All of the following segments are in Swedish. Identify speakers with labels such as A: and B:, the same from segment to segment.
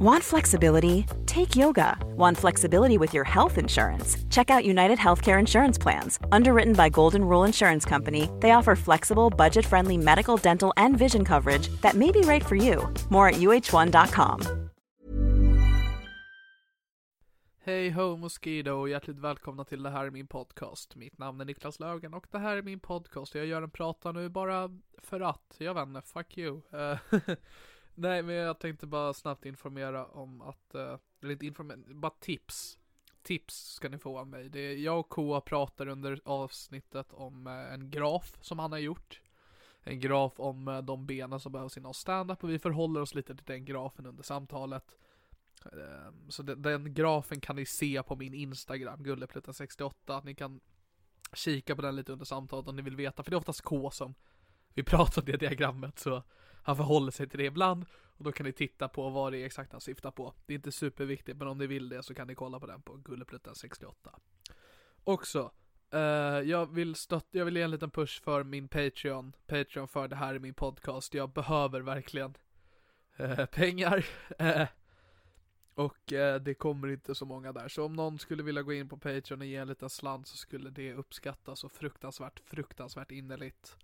A: Want flexibility? Take yoga. Want flexibility with your health insurance? Check out United Healthcare Insurance Plans. Underwritten by Golden Rule Insurance Company, they offer flexible, budget friendly medical, dental, and vision coverage that may be right for you. More at uh1.com.
B: Hej ho Mosquito och hjärtligt välkomna till det här är min podcast. Mitt namn är Niklas Lögen och det här är min podcast. Jag gör en prata nu bara för att. Jag vet inte, fuck you. Eh, Nej men jag tänkte bara snabbt informera om att, eh, eller inte informera, bara tips. Tips ska ni få av mig. Det är, jag och Koa pratar under avsnittet om eh, en graf som han har gjort. En graf om eh, de benen som behövs inom standup och vi förhåller oss lite till den grafen under samtalet. Ehm, Så de- den grafen kan ni se på min Instagram, gulleplitten68. Ni kan kika på den lite under samtalet om ni vill veta, för det är oftast K som vi pratar om det diagrammet, så han förhåller sig till det ibland. Och då kan ni titta på vad det är exakt han syftar på. Det är inte superviktigt, men om ni vill det så kan ni kolla på den på gulleplitten68. Också, eh, jag, vill stött- jag vill ge en liten push för min Patreon. Patreon för det här är min podcast. Jag behöver verkligen eh, pengar. Eh, och eh, det kommer inte så många där. Så om någon skulle vilja gå in på Patreon och ge en liten slant så skulle det uppskattas och fruktansvärt, fruktansvärt innerligt.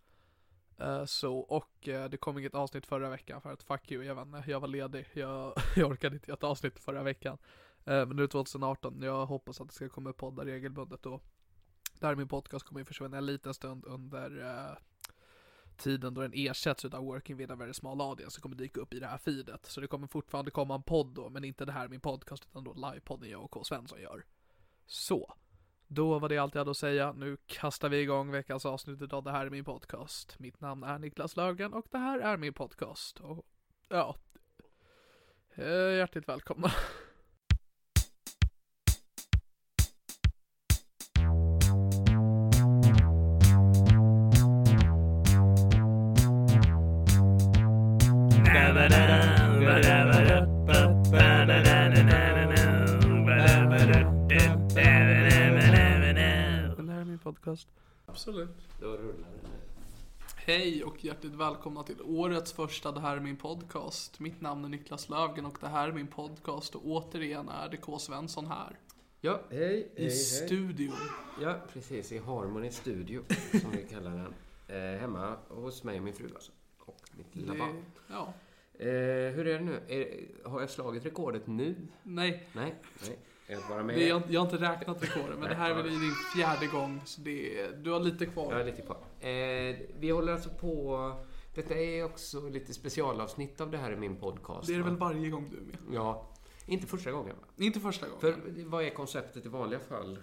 B: Eh, så, och eh, det kom inget avsnitt förra veckan för att fuck you, jag vet inte, jag var ledig. Jag, jag orkade inte göra ett avsnitt förra veckan. Eh, men nu är det 2018, jag hoppas att det ska komma poddar regelbundet och där min podcast kommer ju försvinna en liten stund under eh, tiden då den ersätts utav Working with a very small audience så kommer dyka upp i det här feedet. Så det kommer fortfarande komma en podd då, men inte det här min podcast utan då livepodden jag och K. Svensson gör. Så, då var det allt jag hade att säga. Nu kastar vi igång veckans avsnitt utav Det här är min podcast. Mitt namn är Niklas Löfgren och det här är min podcast. Och ja, Eh, hjärtligt välkomna. Det här är min podcast. Absolut. Hej och hjärtligt välkomna till årets första Det här är min podcast. Mitt namn är Niklas Löfgren och det här är min podcast och återigen är det K. Svensson här.
C: Ja, hej,
B: I
C: hej, hej.
B: studion.
C: Ja, precis. I Harmony Studio, som vi kallar den. Eh, hemma hos mig och min fru alltså. Och mitt lilla
B: Det,
C: barn.
B: ja.
C: Eh, hur är det nu? Är, har jag slagit rekordet nu?
B: Nej,
C: Nej, nej. Är jag bara med?
B: det, jag, jag har inte räknat rekorden men det här är väl din fjärde gång så det, är- du har lite
C: Jag är
B: kvar.
C: lite kvar. Eh, vi håller alltså på... Detta är också lite specialavsnitt av det här är min podcast.
B: Det är det
C: va?
B: väl varje gång du är med?
C: Ja. Inte första gången, va?
B: Inte första gången.
C: För vad är konceptet i vanliga fall?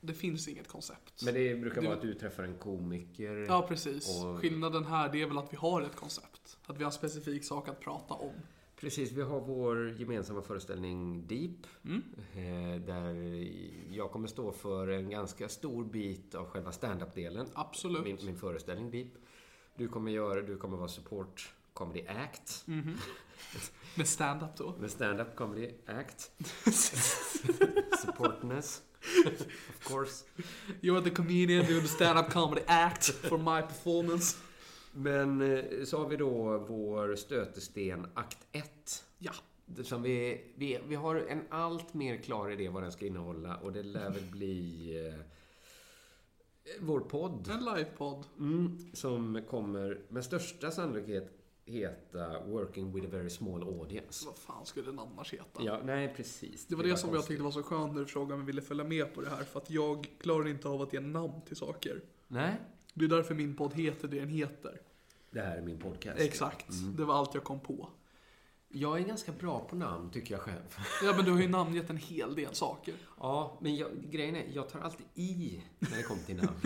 B: Det finns inget koncept.
C: Men det brukar
B: Du-
C: vara att du träffar en komiker.
B: Ja, precis.
C: Och-
B: Skillnaden här det är väl att vi har ett koncept. Att vi har en specifik sak att prata om.
C: Precis, vi har vår gemensamma föreställning Deep. eh, Där jag kommer stå för en ganska stor bit av själva stand-up-delen.
B: Absolut.
C: Min, min föreställning Deep. Du kommer göra, du kommer vara support comedy act.
B: Med stand-up då.
C: Med stand-up comedy act. Supportness. of course.
B: You're the comedian doing the stand-up comedy act for my performance.
C: Men eh, så har vi då vår stötesten akt 1.
B: Ja.
C: Det Som vi, vi, vi har en allt mer klar idé vad den ska innehålla och det lär väl bli eh, vår podd
B: En livepodd.
C: mm, som kommer med största sannolikhet heta Working with a very small audience.
B: Vad fan skulle den annars heta?
C: Ja, nej precis.
B: Det var det, som jag tyckte var så skönt när du frågade om jag ville följa med på det här. För att jag klarar inte av att ge namn till saker.
C: Nej,
B: Det är därför min podd heter det den heter.
C: det här är min podcast.
B: Exakt.
C: Mm.
B: Det var allt jag kom på.
C: Jag är ganska bra på namn, tycker jag själv.
B: Ja, men du har ju namngett en hel del saker.
C: Ja, men jag, grejen är, jag tar alltid i när det kommer till namn.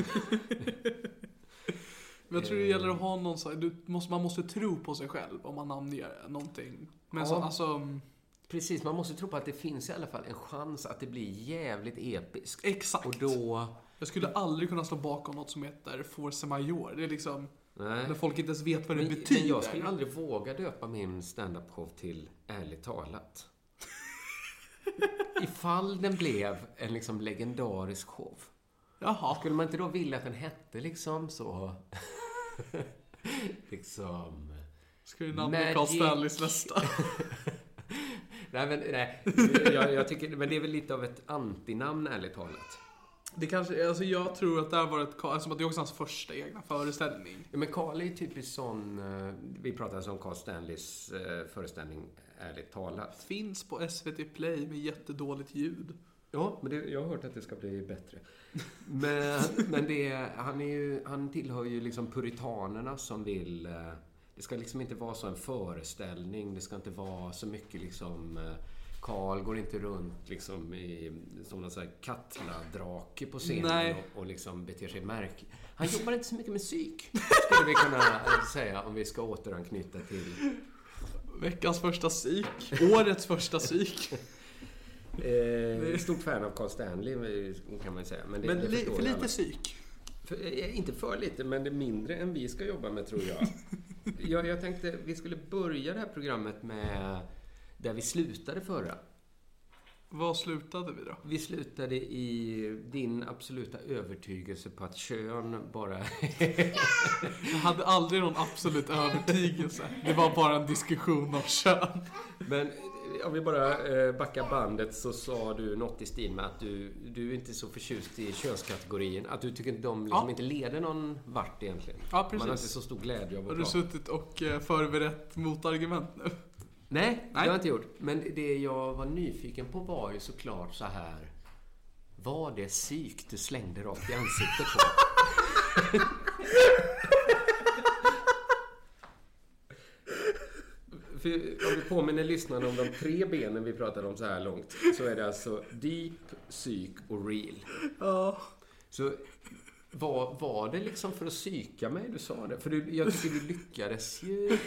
B: Men jag tror det gäller att ha någon så här, du måste, man måste tro på sig själv om man namnger någonting. Men så,
C: Ja.
B: alltså, mm,
C: Precis, man måste tro på att det finns i alla fall en chans att det blir jävligt episkt.
B: exakt.
C: Och då...
B: Jag skulle aldrig kunna stå bakom något som heter Force Major. Det är liksom,
C: Nej.
B: när folk inte ens vet vad det
C: Men,
B: betyder.
C: men jag skulle aldrig våga döpa min standup-show till Ärligt talat. Ifall den blev en liksom legendarisk show.
B: Jaha.
C: Skulle man inte då vilja att den hette liksom så... liksom...
B: Ska du namnge Carl
C: Magic.
B: Stanleys nästa?
C: Nej, men, nej. Jag, jag tycker, men det är väl lite av ett antinamn, ärligt talat.
B: Det kanske, alltså jag tror att det här var ett, Carl- eftersom att det är också hans första egna föreställning.
C: Ja, men Carl är ju typiskt sån... eh, Vi pratade om Carl Stanleys eh, föreställning Ärligt talat.
B: Finns på SVT Play med jättedåligt ljud.
C: Ja, men det, jag har hört att det ska bli bättre. Men, men det, är- han, är ju, han tillhör ju liksom puritanerna som vill... eh, Det ska liksom inte vara så en föreställning. Det ska inte vara så mycket liksom... eh, Carl går inte runt liksom i, som någon sån här Katla-drake på scenen
B: Nej.
C: och, och liksom beter sig märkligt. Han jobbar inte så mycket med psyk, skulle vi kunna eh, säga om vi ska återanknyta till
B: Veckans första psyk. Årets första psyk.
C: Eh, stort fan av Carl Stanley kan man ju säga. Men, det,
B: Men
C: det
B: li,
C: förstår
B: för
C: ju
B: lite
C: alla.
B: psyk.
C: För, eh, inte för lite, men det är mindre än vi ska jobba med tror jag. jag. Jag tänkte vi skulle börja det här programmet med där vi slutade förra.
B: Vad slutade vi då?
C: Vi slutade i din absoluta övertygelse på att kön bara...
B: Jag hade aldrig någon absolut övertygelse. Det var bara en diskussion om kön.
C: men om vi bara eh, backar bandet så sa du något i stil med att du, du är inte så förtjust i könskategorin. Att du tycker att de liksom
B: Ja.
C: inte leder någon vart egentligen.
B: Ja, precis.
C: Man har inte så stor glädje av
B: Har
C: att
B: du
C: prata.
B: suttit och eh, förberett motargument nu?
C: Nej, det har
B: Nej.
C: jag inte gjort. Men det jag var nyfiken på var ju såklart så här. Var det psyk du slängde rakt i ansiktet på? För om vi påminner lyssnarna om de tre benen vi pratade om så här långt så är det alltså deep, psyk och real.
B: Ja.
C: Så var, var det liksom för att psyka mig du sa det? För du, jag tycker du lyckades ju.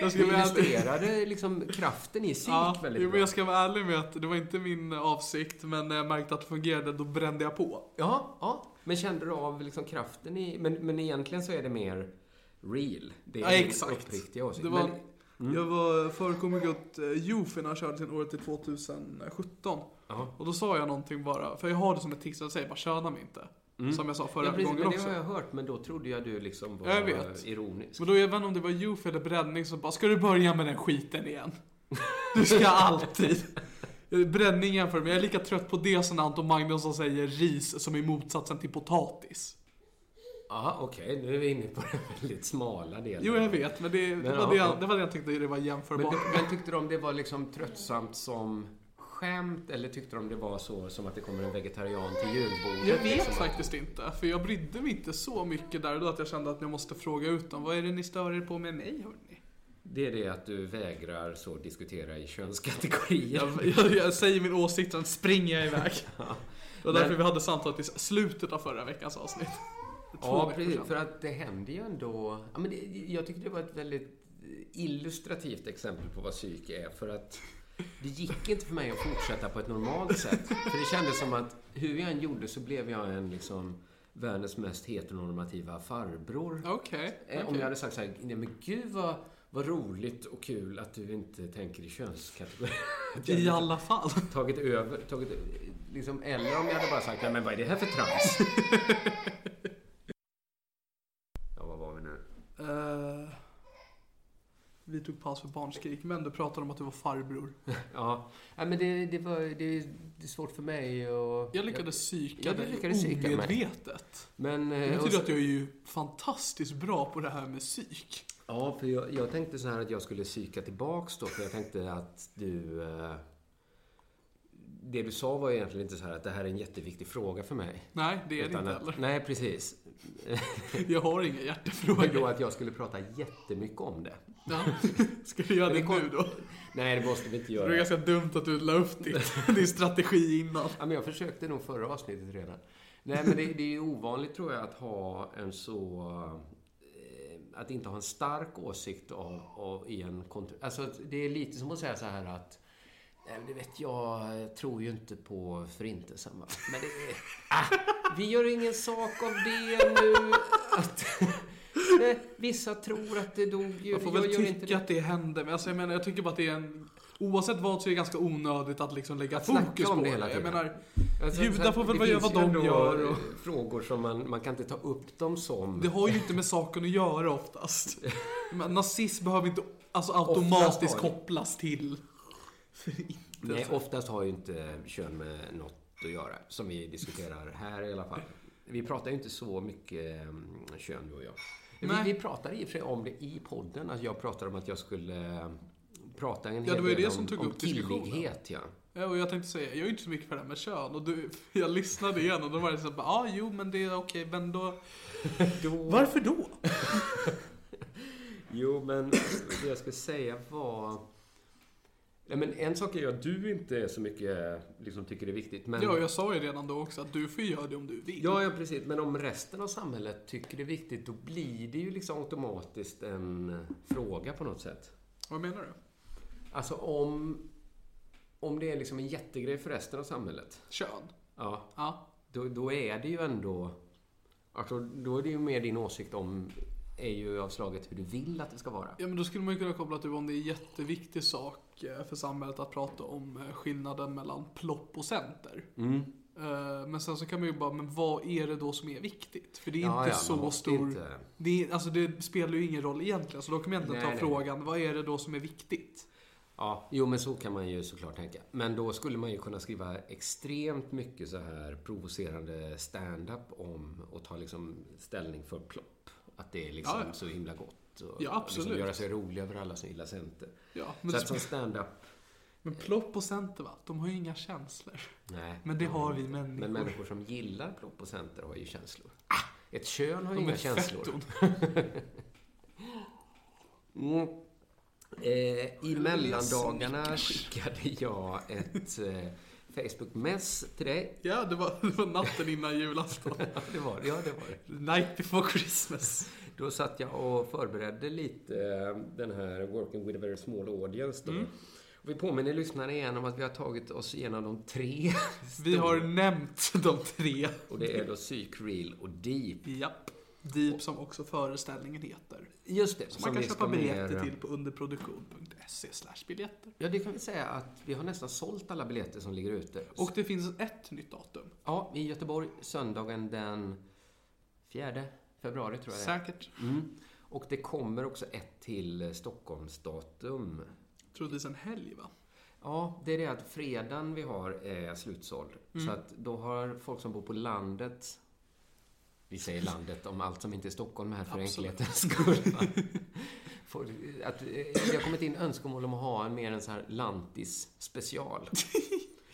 B: Jag ska
C: Du
B: vara ärlig.
C: illustrerade liksom kraften i psyk
B: Ja,
C: väldigt
B: jo,
C: bra.
B: men jag ska vara ärlig med att det var inte min avsikt, men när jag märkte att det fungerade, då brände jag på.
C: Ja, ja. Men kände du av liksom kraften i... Men, men egentligen så är det mer real. Det är
B: Ja,
C: din
B: exakt.
C: uppriktiga åsikt.
B: Det var,
C: Men, Mm.
B: Jag var förekommig åt eh, Youth när han körde sin året till 2017.
C: ja.
B: Och då sa jag någonting bara, för jag har det som ett tics, jag säger bara köna mig inte.
C: Mm.
B: Som jag sa förra
C: ja, precis,
B: gången
C: men det
B: också.
C: har jag hört, men då trodde jag du liksom var
B: Jag vet.
C: ironisk.
B: Men då även om det var Youth eller bränning så bara, ska du börja med den skiten igen? Du ska alltid. Bränning jämför med, jag är lika trött på det som när Anton Magnusson säger ris som är motsatsen till potatis.
C: Jaha, okej. Nu är vi inne på den väldigt smala delen.
B: Jo jag vet, men det, det,
C: Men,
B: var, det,
C: ja,
B: jag,
C: ja.
B: det var det jag tyckte det var
C: Men,
B: jämförbart.
C: du, men tyckte du om det var liksom tröttsamt som skämt eller tyckte du om det var så som att det kommer en vegetarian till julbordet?
B: Jag vet
C: liksom?
B: faktiskt inte, för jag brydde mig inte så mycket där och då att jag kände att jag måste fråga ut dem. Vad är det ni stör er på med mig hörni?
C: Det är det att du vägrar så diskutera i könskategorier.
B: Jag, jag, jag säger min åsikt, sen springer jag iväg. Det var
C: Men-
B: därför vi hade samtalet i slutet av förra veckans avsnitt. Två
C: Ja,
B: veckor
C: precis.
B: sedan.
C: För att det händer ju ändå... Ja, men det, jag tycker det var ett väldigt illustrativt exempel på vad psyk är. För att det gick inte för mig att fortsätta på ett normalt sätt. För det kändes som att hur jag än gjorde så blev jag en liksom världens mest heteronormativa farbror.
B: Okej.
C: Eh, Om
B: okej.
C: jag hade sagt så här, nej men gud vad, vad roligt och kul att du inte tänker i könskategorier. Att jag
B: I alla fall.
C: tagit över, tagit, liksom, eller om jag hade bara sagt, nej men vad är det här för trams? ja, vad var vi nu?
B: Eh, vi tog paus för barnskrik, men du pratade om att du var farbror.
C: Ja, nej, men det, det, var, det, det är svårt för mig och...
B: Jag lyckades psyka
C: Ja, du
B: dig
C: lyckades psyka mig.
B: omedvetet.
C: Men... eh,
B: Det
C: och
B: betyder
C: så-
B: att jag är ju fantastiskt bra på det här med psyk.
C: Ja, för jag, jag tänkte så här att jag skulle psyka tillbaks då, för jag tänkte att du... Eh, det du sa var egentligen inte så här att det här är en jätteviktig fråga för mig.
B: Nej, det är det
C: Utan
B: inte
C: att-
B: heller.
C: Nej, precis.
B: Jag har inga
C: Men då
B: hjärtefrågor.
C: att jag skulle prata jättemycket om det.
B: Ja. Ska du göra det
C: Men det
B: nu
C: kom-
B: då?
C: Nej, det måste vi inte
B: Det var
C: göra.
B: ganska dumt att du la upp ditt, din strategi innan.
C: Ja, men jag försökte nog förra avsnittet redan. Nej, men det, det är ju ovanligt tror jag att ha en så... eh, Att inte ha en stark åsikt av, av, i en kont- Alltså, att det är lite som att säga så här att... Nej, men du vet, jag tror ju inte på förintelsen, va? Men det är... Ah, vi gör ingen sak av det nu. Att, Nej, vissa tror att det dog ju.
B: Jag får väl
C: gör inte
B: tycka att det hände, men alltså, jag menar, jag tycker bara att det är en... Oavsett vad så är det ganska onödigt att liksom lägga
C: Att snacka
B: fokus
C: om
B: på
C: det hela
B: Jag
C: tiden.
B: menar,
C: Alltså,
B: Judar
C: så-
B: får väl
C: det
B: bara göra
C: finns
B: vad
C: ju
B: de
C: ändå
B: gör och-
C: Frågor som man, man kan inte ta upp dem som.
B: det har ju inte med saken att göra oftast. Men nazism behöver inte alltså,
C: Oftast
B: automatiskt
C: har det.
B: kopplas till
C: Nej, oftast har ju inte kön med något att göra. Som vi diskuterar här i alla fall. Vi pratar ju inte så mycket mm, kön, du och jag.
B: Nej.
C: Vi, vi pratar i och för sig om det i podden. Alltså jag pratar om att jag skulle eh, prata en hel
B: Ja, det var ju
C: del
B: det
C: om,
B: som tog
C: om
B: upp diskussionen.
C: killighet, ja.
B: Ja, och jag tänkte säga, jag är ju inte så mycket för det här med kön och du, jag lyssnade igen och då var det såhär, ja ah, jo men det är okej, men då... Varför då?
C: Jo, men det jag skulle säga var... Nej, men en sak är ju att du inte är så mycket liksom, tycker det är viktigt. Men...
B: Ja, jag sa ju redan då också att du får göra det om du vill.
C: Ja, ja, precis. Men om resten av samhället tycker det är viktigt, då blir det ju liksom automatiskt en eh, fråga på något sätt.
B: Vad menar du?
C: Alltså om, om det är liksom en jättegrej för resten av samhället,
B: Kön?
C: ja,
B: Ja.
C: då, då är det ju ändå... Alltså, då är det ju mer din åsikt om är ju av slaget hur du vill att det ska vara.
B: Ja, men då skulle man ju kunna koppla till om det är en jätteviktig sak eh, för samhället att prata om eh, skillnaden mellan plopp och center.
C: Mm.
B: Eh, Men sen så kan man ju bara, men vad är det då som är viktigt? För det är
C: Ja,
B: inte
C: ja, man
B: så
C: måste
B: stor...
C: inte-
B: Det, är, alltså det spelar ju ingen roll egentligen, så då kan man egentligen
C: Nej,
B: ta
C: nej.
B: frågan, vad är det då som är viktigt?
C: Ja, jo men så kan man ju såklart tänka. Men då skulle man ju kunna skriva extremt mycket så här provocerande stand-up om och ta liksom ställning för plopp. Att det är liksom
B: Ja, ja.
C: så himla gott. Och
B: Ja, absolut.
C: Liksom göra sig rolig över alla som gillar center.
B: Ja, men
C: Men så
B: det
C: att som stand-up,
B: Men plopp och center va? De har ju inga känslor.
C: nej.
B: Men det har vi människor. Ah!
C: Men människor som gillar plopp och center har ju känslor. Ett kön har ju
B: De är
C: inga känslor.
B: fetton.
C: Mm. Eh, I mellandagarna skickade jag ett eh, Facebook-mess till dig.
B: Ja, det var, det var natten innan julafton.
C: Ja, det var det. Ja, det, var det.
B: Night before Christmas.
C: Då satt jag och förberedde lite eh, den här Working with a very small audience. Då.
B: Mm.
C: Och vi påminner lyssnarna igen om att vi har tagit oss igenom de tre.
B: Vi har nämnt de tre.
C: Och det är då Psyk, Real och Deep.
B: Japp. Deep som också föreställningen heter.
C: Just det.
B: Som man kan
C: vi
B: köpa
C: ska
B: biljetter
C: ner-
B: till på underproduktion.se slash biljetter.
C: Ja, det kan vi säga att vi har nästan sålt alla biljetter som ligger ute.
B: Och det finns ett nytt datum.
C: ja, i Göteborg söndagen den 4 februari tror jag det är.
B: Säkert.
C: Mm. Och det kommer också ett till Stockholmsdatum.
B: Troligtvis en helg va?
C: Ja, det är det att fredagen vi har är slutsåld. Så
B: Mm.
C: att då har folk som bor på landet vi säger landet om allt som inte är Stockholm här för
B: Absolut.
C: enkelhetens skull. va? Folk- Att, eh, det har kommit in önskemål om att ha en mer en så här lantis special.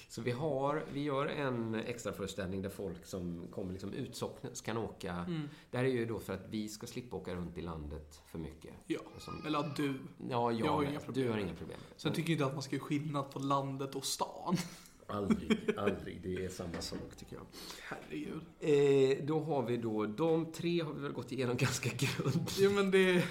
C: Så vi, har, vi gör en extra föreställning där folk som kommer liksom utsocknes kan åka.
B: Mm.
C: Det här är ju då för att vi ska slippa åka runt i landet för mycket.
B: Ja.
C: Som-
B: Eller att du.
C: Ja, jag,
B: Jag har
C: med.
B: inga
C: Du
B: problem.
C: har inga problem.
B: Sen tycker jag inte att man ska göra skillnad på landet och stan.
C: Aldrig, aldrig. Det är samma sak tycker jag.
B: Herregud.
C: Eh, då har vi då, de tre har vi väl gått igenom ganska grundligt.
B: Jo men det...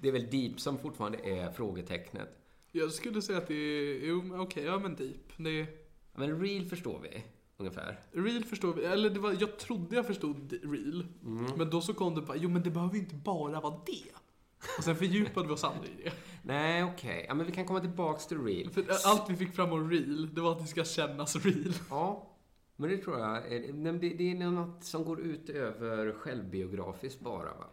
C: Det är väl Deep som fortfarande är frågetecknet.
B: Jag skulle säga att det är... Jo, men okej, ja men deep. Det är...
C: Men Real förstår vi, ungefär.
B: Real förstår vi, eller det var, jag trodde jag förstod d- real.
C: Mm.
B: Men då så kom det bara, jo men det behöver ju inte bara vara det. Och sen fördjupade vi oss aldrig i det.
C: Nej, okej. Ja, men vi kan komma tillbaks till Real.
B: För allt vi fick fram om real, det var att det ska kännas real.
C: Ja, men det tror jag. är- nej, men Det, det är något som går ut över självbiografiskt bara, va?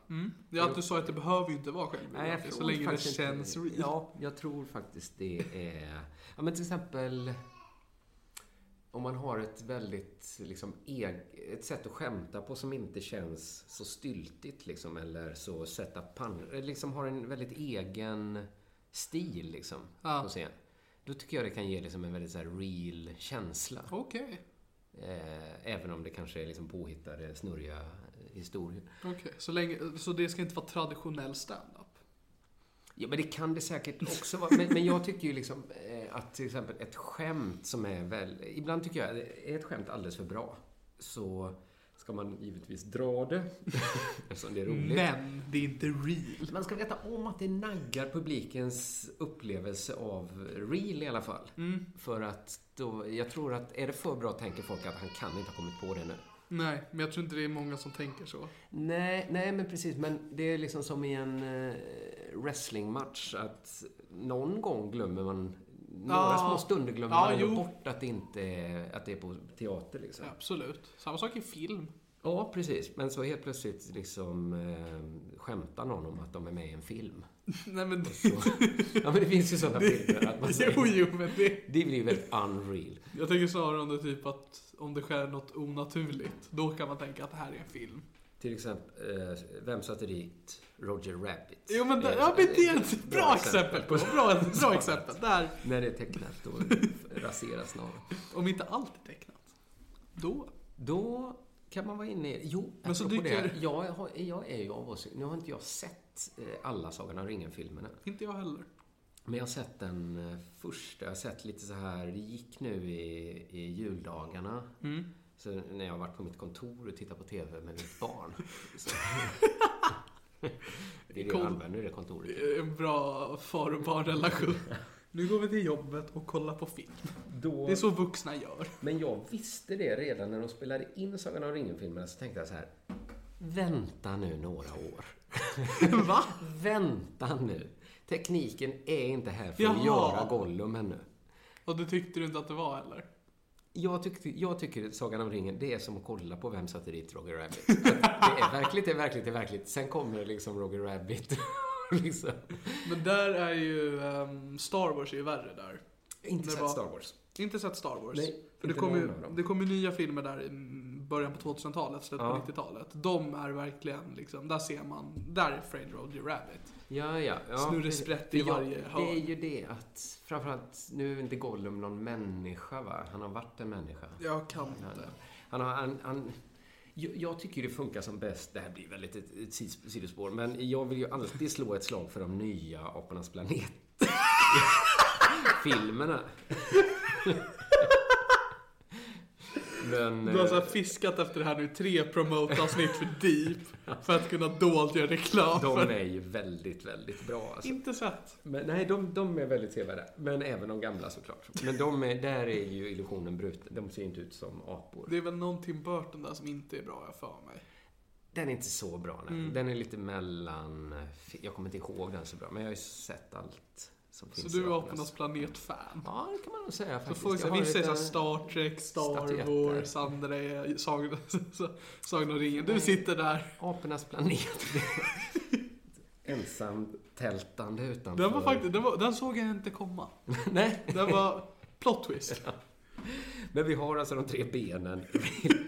B: Ja, att du sa att det behöver ju inte vara
C: Mm. Nej, jag
B: självbiografiskt så
C: tror
B: länge det
C: faktiskt inte-
B: känns real.
C: Ja, jag tror faktiskt det är... Ja, men till exempel... om man har ett väldigt, liksom, eg- ett sätt att skämta på som inte känns så styltigt liksom, eller så sätta pan- eller liksom har en väldigt egen stil liksom,
B: Ja.
C: på scen. Då tycker jag det kan ge liksom, en väldigt så här, real känsla.
B: Okej.
C: Eh, även om det kanske är liksom, påhittade, snurriga eh, historier.
B: Okej, så, länge, så det ska inte vara traditionell stand-up?
C: Ja, men det kan det säkert också vara. Men, men jag tycker ju liksom eh, att till exempel ett skämt som är väl... Ibland tycker jag att är ett skämt alldeles för bra så ska man givetvis dra det eftersom det är roligt.
B: Men det är inte real.
C: Man ska veta om att det naggar publikens upplevelse av real i alla fall. För att då, jag tror att är det för bra tänker folk att han kan inte ha kommit på det nu.
B: Nej, men jag tror inte det är många som tänker så.
C: Nej, nej men precis. Men det är liksom som i en eh, wrestlingmatch att någon gång glömmer man några
B: Ja.
C: små stunder glömmer
B: Ja,
C: man ändå
B: jo.
C: bort att det inte är, att det är på teater liksom. Ja.
B: Absolut. Samma sak i film.
C: precis. Men så helt plötsligt liksom eh, skämtar någon om att de är med i en film.
B: Nej men det...
C: Ja, men det finns ju sådana filmer att man
B: jo,
C: säger.
B: jo, men det...
C: Det blir ju väldigt unreal.
B: Jag tänker snarare om det typ att om det sker något onaturligt, då kan man tänka att det här är en film.
C: Till exempel, eh, vem satte dit Roger Rabbit?
B: Jo men det,
C: är-
B: ja, men det är ett bra exempel på, bra, bra exempel. Där,
C: När det är tecknat, då raseras någon.
B: om inte allt är tecknat, då...
C: Då kan man vara inne i... Jo,
B: Men så
C: apropå
B: dyker-
C: det. Jag, har, jag är ju av oss... Nu har inte jag sett eh, alla Sagan om ringen-filmerna.
B: Inte jag heller.
C: Men jag har sett den eh, första. Jag har sett lite så här... Det gick nu i, i juldagarna.
B: Mm.
C: Så när jag har varit på mitt kontor och tittat på TV med mitt barn. Så, det är det jag
B: Cool.
C: använder det kontoret till.
B: Det är En bra far och barnrelation. Nu går vi till jobbet och kollar på film.
C: Då...
B: Det är så vuxna gör.
C: Men jag visste det redan när de spelade in Sagan om ringen-filmerna. Så tänkte jag så här... Vänta nu några år.
B: Va?
C: Vänta nu. Tekniken är inte här för
B: Jaha.
C: att göra Gollum ännu.
B: Och det tyckte du inte att det var heller?
C: Jag, tyckte, jag tycker att Sagan om ringen, det är som att kolla på Vem satte dit Roger Rabbit. Att Det är verkligt, det är verkligt, det är verkligt. Sen kommer liksom Roger Rabbit. liksom.
B: Men där är ju... ehm, Star Wars är ju värre där.
C: Inte
B: Det
C: sett
B: var-
C: Star Wars.
B: Inte sett Star Wars.
C: Nej,
B: För det
C: inte
B: kom, ju,
C: någon av dem.
B: det kom ju nya filmer där i början på 2000-talet, slutet
C: Ja.
B: på 90-talet. De är verkligen liksom, där ser man, där är Fred Roger Rabbit.
C: Ja, ja. ja
B: Snurresprätt i
C: Ja,
B: varje hörn.
C: Det är ju det att, framförallt, nu är inte Gollum någon människa va? Han har varit en människa.
B: Jag kan
C: Han,
B: inte.
C: han, har- han, han, jag, jag tycker det funkar som bäst. Det här blir väldigt ett, ett sis- sidospår. Men jag vill ju alltid slå ett slag för de nya Apornas planet. Filmerna. men...
B: Du har
C: eh,
B: så här fiskat efter det här nu i tre promote-avsnitt för Deep, för att kunna dolt göra reklam för.
C: De är ju väldigt, väldigt bra. Alltså.
B: Inte sett.
C: Men, nej, de, de är väldigt sevärda. Men även de gamla såklart. Men de är, där är ju illusionen bruten. De ser ju inte ut som apor.
B: Det är väl någon Tim Burton där som inte är bra, jag har för mig.
C: Den är inte så bra, nej.
B: Mm.
C: Den är lite mellan... eh, Jag kommer inte ihåg den så bra, men jag har ju sett allt som
B: Så
C: finns. i
B: du är
C: Apornas-
B: Apornas planet-fan.
C: Ja, det kan man nog säga
B: Så
C: faktiskt.
B: folk,
C: Jag har
B: vissa är
C: ett,
B: såhär
C: eh,
B: Star Trek, Star
C: statyetter.
B: Wars, andra är Sagan så- Sagan om ringen. Du sitter där.
C: Apornas eh, planet. Ensam tältande utanför.
B: Den, var faktiskt, den, var, den såg jag inte komma.
C: Nej,
B: Den var plot twist.
C: men vi har alltså de tre benen.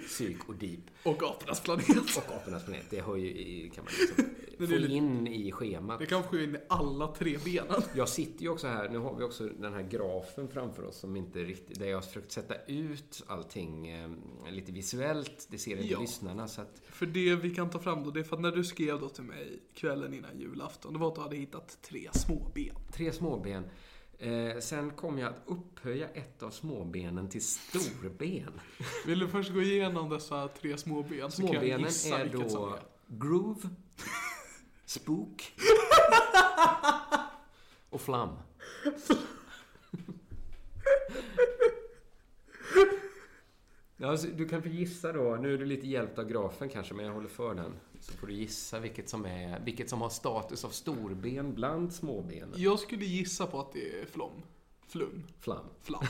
C: Psyk och deep.
B: Och apornas planet.
C: Och Apornas planet. Det hör ju i, kan man liksom
B: Det är
C: få
B: lite-
C: in i schemat.
B: Det kan ske in i alla tre benen.
C: Jag sitter ju också här, nu har vi också den här grafen framför oss som inte riktigt, där jag har försökt sätta ut allting eh, lite visuellt, det ser inte
B: Ja.
C: lyssnarna så att,
B: För det vi kan ta fram då, det är för att när du skrev då till mig kvällen innan julafton, det var att du hade hittat tre små ben.
C: tre småben. Eh, sen kom jag att upphöja ett av småbenen till storben.
B: Vill du först gå igenom dessa tre små ben så kan jag
C: Småbenen
B: gissa
C: är
B: vilket som
C: då
B: är.
C: groove, spook och flam. Ja, alltså, du kan få gissa då. Nu är du lite hjälpt av grafen kanske, men jag håller för den. Så får du gissa vilket som, är, vilket som har status av storben bland småbenen.
B: Jag skulle gissa på att det är flom. Flum.
C: Flam.
B: Flam.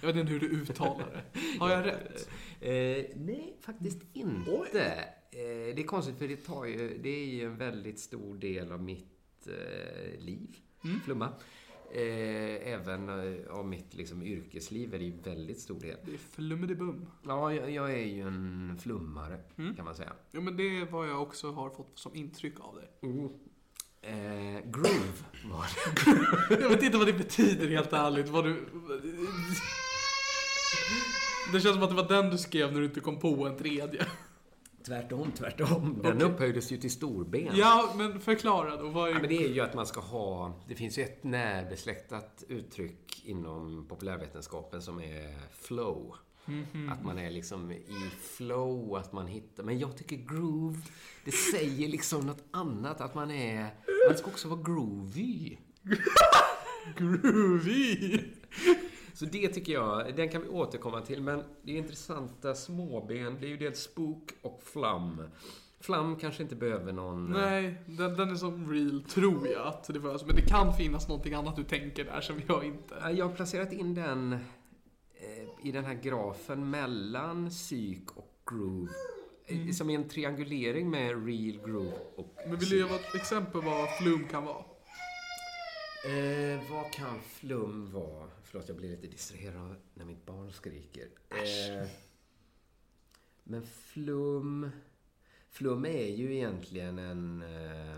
B: Jag vet inte hur du uttalar det. Har jag rätt?
C: Eh, nej, faktiskt inte. Eh, det är konstigt för det, tar
B: Mm.
C: ju, det är ju en väldigt stor del av mitt eh, liv. Flumma. Eh, även eh, av mitt liksom, yrkesliv är det ju väldigt stor del.
B: Det är flummelibum.
C: Ja, jag, jag är ju en flummare,
B: Mm.
C: kan man säga.
B: Jo men det är vad jag också har fått som intryck av dig.
C: Eh, groove var det.
B: Jag vet inte vad det betyder helt ärligt. Vad du... Det känns som att det var den du skrev när du inte kom på en tredje.
C: Tvärtom, tvärtom. Den upphöjdes ju till storben.
B: Ja, men förklara då. Vad är...
C: Ja, men det är ju att man ska ha... Det finns ju ett närbesläktat uttryck inom populärvetenskapen som är flow.
B: Mhm.
C: Att man är liksom i flow, att man hittar... Men jag tycker groove, det säger liksom något annat. Att man är... Man ska också vara groovy.
B: Groovy!
C: Så det tycker jag, den kan vi återkomma till. Men det är intressanta småben, det är ju dels spook och flam. Flam kanske inte behöver någon...
B: Nej, den, den är som real tror jag att det var. Men det kan finnas någonting annat du tänker där som jag inte...
C: Ja, Jag har placerat in den eh, i den här grafen mellan psyk och groove. Eh, Som är en triangulering med real groove och...
B: Mm. Men vill du ge ett exempel vad flum kan vara?
C: Eh, vad kan flum vara? Förlåt, jag blir lite distraherad när mitt barn skriker. Eh, men flum... Flum är ju egentligen en, eh,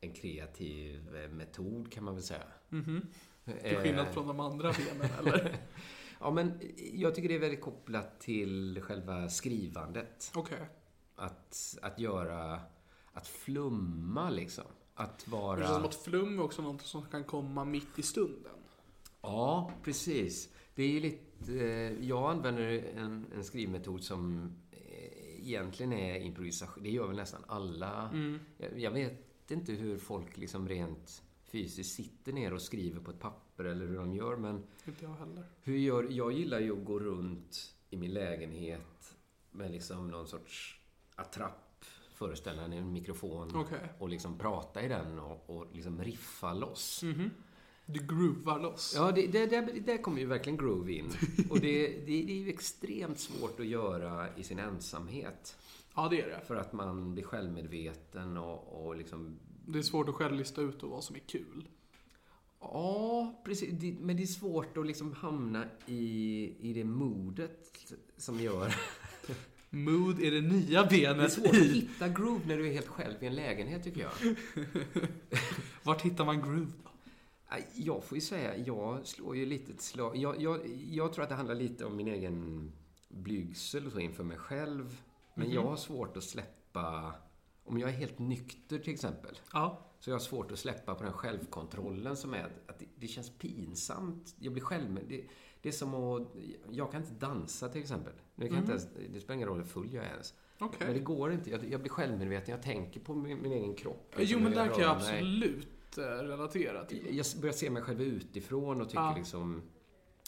C: en kreativ eh, metod, kan man väl säga.
B: Mm-hmm. Till
C: Eh.
B: skillnad från de andra benen eller?
C: Ja, men jag tycker det är väldigt kopplat till själva skrivandet.
B: Okej.
C: att, att göra, att flumma liksom. Att
B: Det känns som
C: vara...
B: att flum är också något som kan komma mitt i stunden.
C: Ja, precis. Det är ju lite... eh, Jag använder en, en skrivmetod som eh, egentligen är improvisation. Det gör väl nästan alla. Jag, jag vet inte hur folk liksom rent fysiskt sitter ner och skriver på ett papper eller hur de gör, men
B: Inte jag heller.
C: Hur gör, jag gillar ju att gå runt i min lägenhet med liksom någon sorts attrapp, föreställande en mikrofon
B: Okej.
C: och liksom prata i den och, och liksom riffa loss.
B: Du groovar loss.
C: Ja, det, det, där, där kommer ju verkligen groove in. Och det, det, det är ju extremt svårt att göra i sin ensamhet.
B: Ja, det är det.
C: För att man blir självmedveten och, och liksom
B: Det är svårt att själv lista ut och vad som är kul.
C: Ja, precis. Det- Men det är svårt att liksom hamna i, i det modet som gör...
B: Mood är det nya
C: Det är
B: benet
C: svårt att
B: i.
C: hitta groove när du är helt själv i en lägenhet, tycker jag.
B: Vart hittar man groove då?
C: Nej, Äh, Jag får ju säga, jag slår ju lite ett slag. Jag, jag, jag tror att det handlar lite om min egen blygsel och så inför mig själv. Men jag har svårt att släppa... Om jag är helt nykter, till exempel,
B: Ja.
C: så jag har svårt att släppa på den självkontrollen som är att det, det känns pinsamt. Jag blir själv... Det, det är som att... Jag kan inte dansa, till exempel. Nu kan jag inte ens, det spelar ingen roll hur full jag är ens.
B: Mm. Okej.
C: Men det går inte. Jag, jag blir självmedveten. Jag tänker på min, min egen kropp.
B: Jo,
C: liksom,
B: men
C: hur
B: där kan jag
C: rör mig.
B: absolut eh, relatera till.
C: Jag s- börjar se mig själv utifrån och tycker
B: Ja.
C: liksom...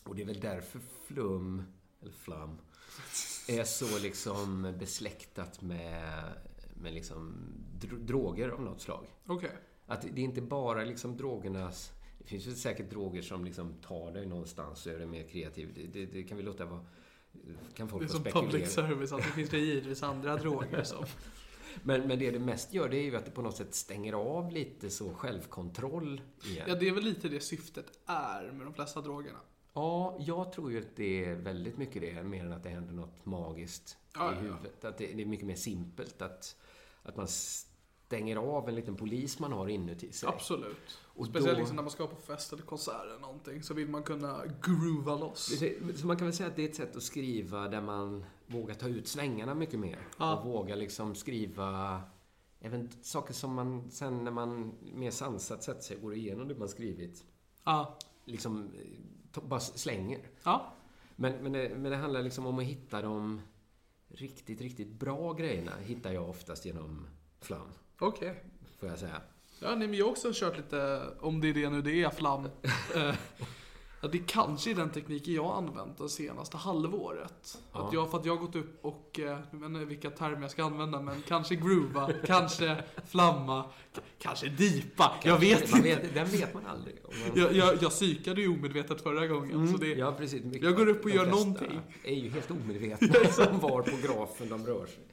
C: Och det är väl därför flum, eller flam, är så liksom besläktat med, med liksom dro- droger av något slag.
B: Okej.
C: Att det är inte bara liksom drogernas... Det finns ju säkert droger som liksom tar dig någonstans och gör dig mer kreativ. Det, det, det kan vi låta vara... Kan
B: Det är
C: folk få
B: som public
C: spekulera.
B: service, att det finns det givetvis andra droger som...
C: Men, men det det mest gör, det är ju att det på något sätt stänger av lite så självkontroll igen.
B: Ja, det är väl lite det syftet är med de flesta drogerna.
C: Ja, jag tror ju att det är väldigt mycket det, mer än att det händer något magiskt
B: Ja,
C: i
B: ja, ja.
C: huvudet. Att det, det är mycket mer simpelt att, att man stänger av en liten polis man har inuti sig.
B: Absolut.
C: Och
B: Speciellt
C: då-
B: liksom när man ska på fest eller konsert eller någonting så vill man kunna groova loss.
C: Så man kan väl säga att det är ett sätt att skriva där man vågar ta ut svängarna mycket mer.
B: Ja.
C: Och vågar liksom skriva även saker som man sen när man mer sansat sätter sig och går igenom det man skrivit,
B: Ja.
C: liksom eh, ta- bara slänger.
B: Ja.
C: Men, men, det, men det handlar liksom om att hitta de riktigt, riktigt bra grejerna hittar jag oftast genom flam,
B: Okej.
C: får jag säga.
B: Ja, nej, men jag har också kört lite, om det är det nu det är, flam. Eh, ja, det kanske är den tekniken jag har använt det senaste halvåret. Att jag, för att jag har gått upp och, eh, jag vet inte vilka termer jag ska använda, men kanske groova, kanske flamma, k- kanske dipa. jag vet
C: man
B: inte.
C: Vet, den vet man aldrig. Om man,
B: Jag, jag, jag psykade ju omedvetet förra gången. Så det,
C: Mm. ja, precis. Mycket-
B: jag går upp och
C: de
B: gör
C: flesta
B: någonting.
C: är ju helt omedvetna om var på grafen de rör sig.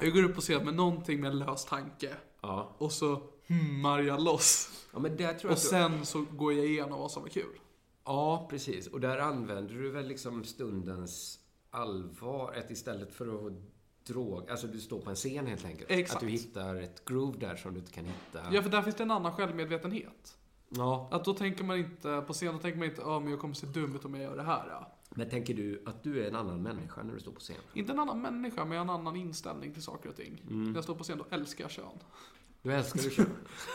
B: Jag går upp och ser med någonting med en lös tanke.
C: Ja.
B: Och så marja loss.
C: Ja, men där tror jag
B: Och
C: att du-
B: sen så går jag igenom vad som var kul.
C: Ja, precis. Och där använder du väl liksom stundens allvar. Att istället för att drog... Alltså du står på en scen helt enkelt.
B: Exakt.
C: Att du hittar ett groove där som du inte kan hitta.
B: Ja, för där finns det en annan självmedvetenhet.
C: ja.
B: Att då tänker man inte, på scen, då tänker man inte ja men jag kommer se dum ut om jag gör det här. Ja.
C: Men tänker du att du är en annan människa när du står på scen?
B: Inte en annan människa, men jag har en annan inställning till saker och ting.
C: Mm.
B: När jag står på scen, då älskar jag kön.
C: Du älskar att köra.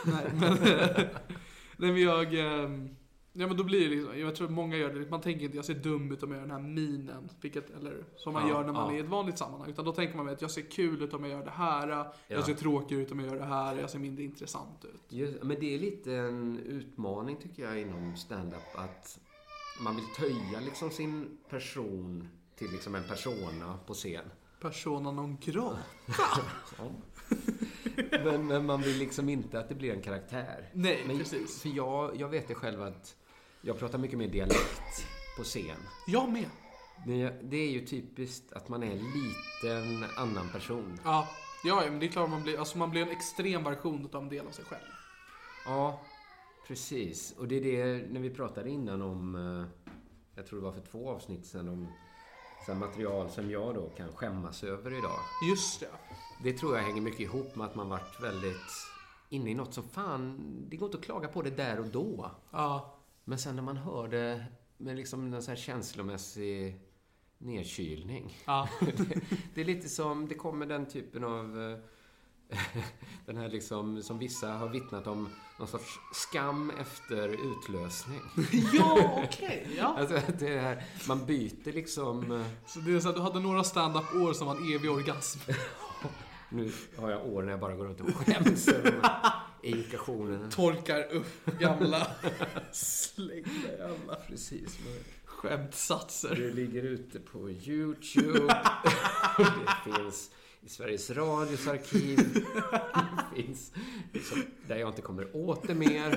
B: Nej, men, nej, men jag... ehm, Ja, men då blir det liksom, jag tror många gör det, man tänker inte jag ser dum ut om jag gör den här minen, vilket, eller som man
C: Ja,
B: gör när man
C: ja.
B: är i ett vanligt sammanhang. Utan då tänker man mer att jag ser kul ut om jag gör det här,
C: Ja.
B: jag ser tråkig ut om jag gör det här, jag ser mindre intressant ut.
C: Just, men det är lite en utmaning tycker jag inom stand-up att man vill töja liksom sin person till liksom en persona på scen.
B: Persona non grata.
C: Men, men man vill liksom inte att det blir en karaktär.
B: Nej,
C: men,
B: precis.
C: För jag, jag vet det själv att jag pratar mycket mer dialekt på scen.
B: Jag med.
C: Det, det är ju typiskt att man är en liten annan person.
B: Ja, ja, ja, men det är klart man blir, alltså man blir en extrem version av en del av sig själv.
C: Ja, precis. Och det är det, när vi pratade innan om, eh, jag tror det var för två avsnitt sedan, om så här material som jag då kan skämmas över idag.
B: Just det.
C: Det tror jag hänger mycket ihop med att man varit väldigt inne i något som fan, det går inte att klaga på det där och då.
B: Ja,
C: Men sen när man hör det med liksom en sån här känslomässig nedkylning.
B: ja,
C: det, det är lite som, det kommer den typen av eh, den här liksom, som vissa har vittnat om, någon sorts skam efter utlösning.
B: ja okej. ja.
C: Alltså att det här, man byter liksom, eh,
B: Så det är så att du hade några stand-up-år som var en evig orgasm.
C: nu har jag år när jag bara går runt och skäms över de här indikationerna.
B: Torkar upp gamla slängda jävla
C: Precis.
B: skämtsatser.
C: Alltså, Det ligger ute på YouTube. det finns i Sveriges Radios arkiv. Det finns liksom, där jag inte kommer åt det mer.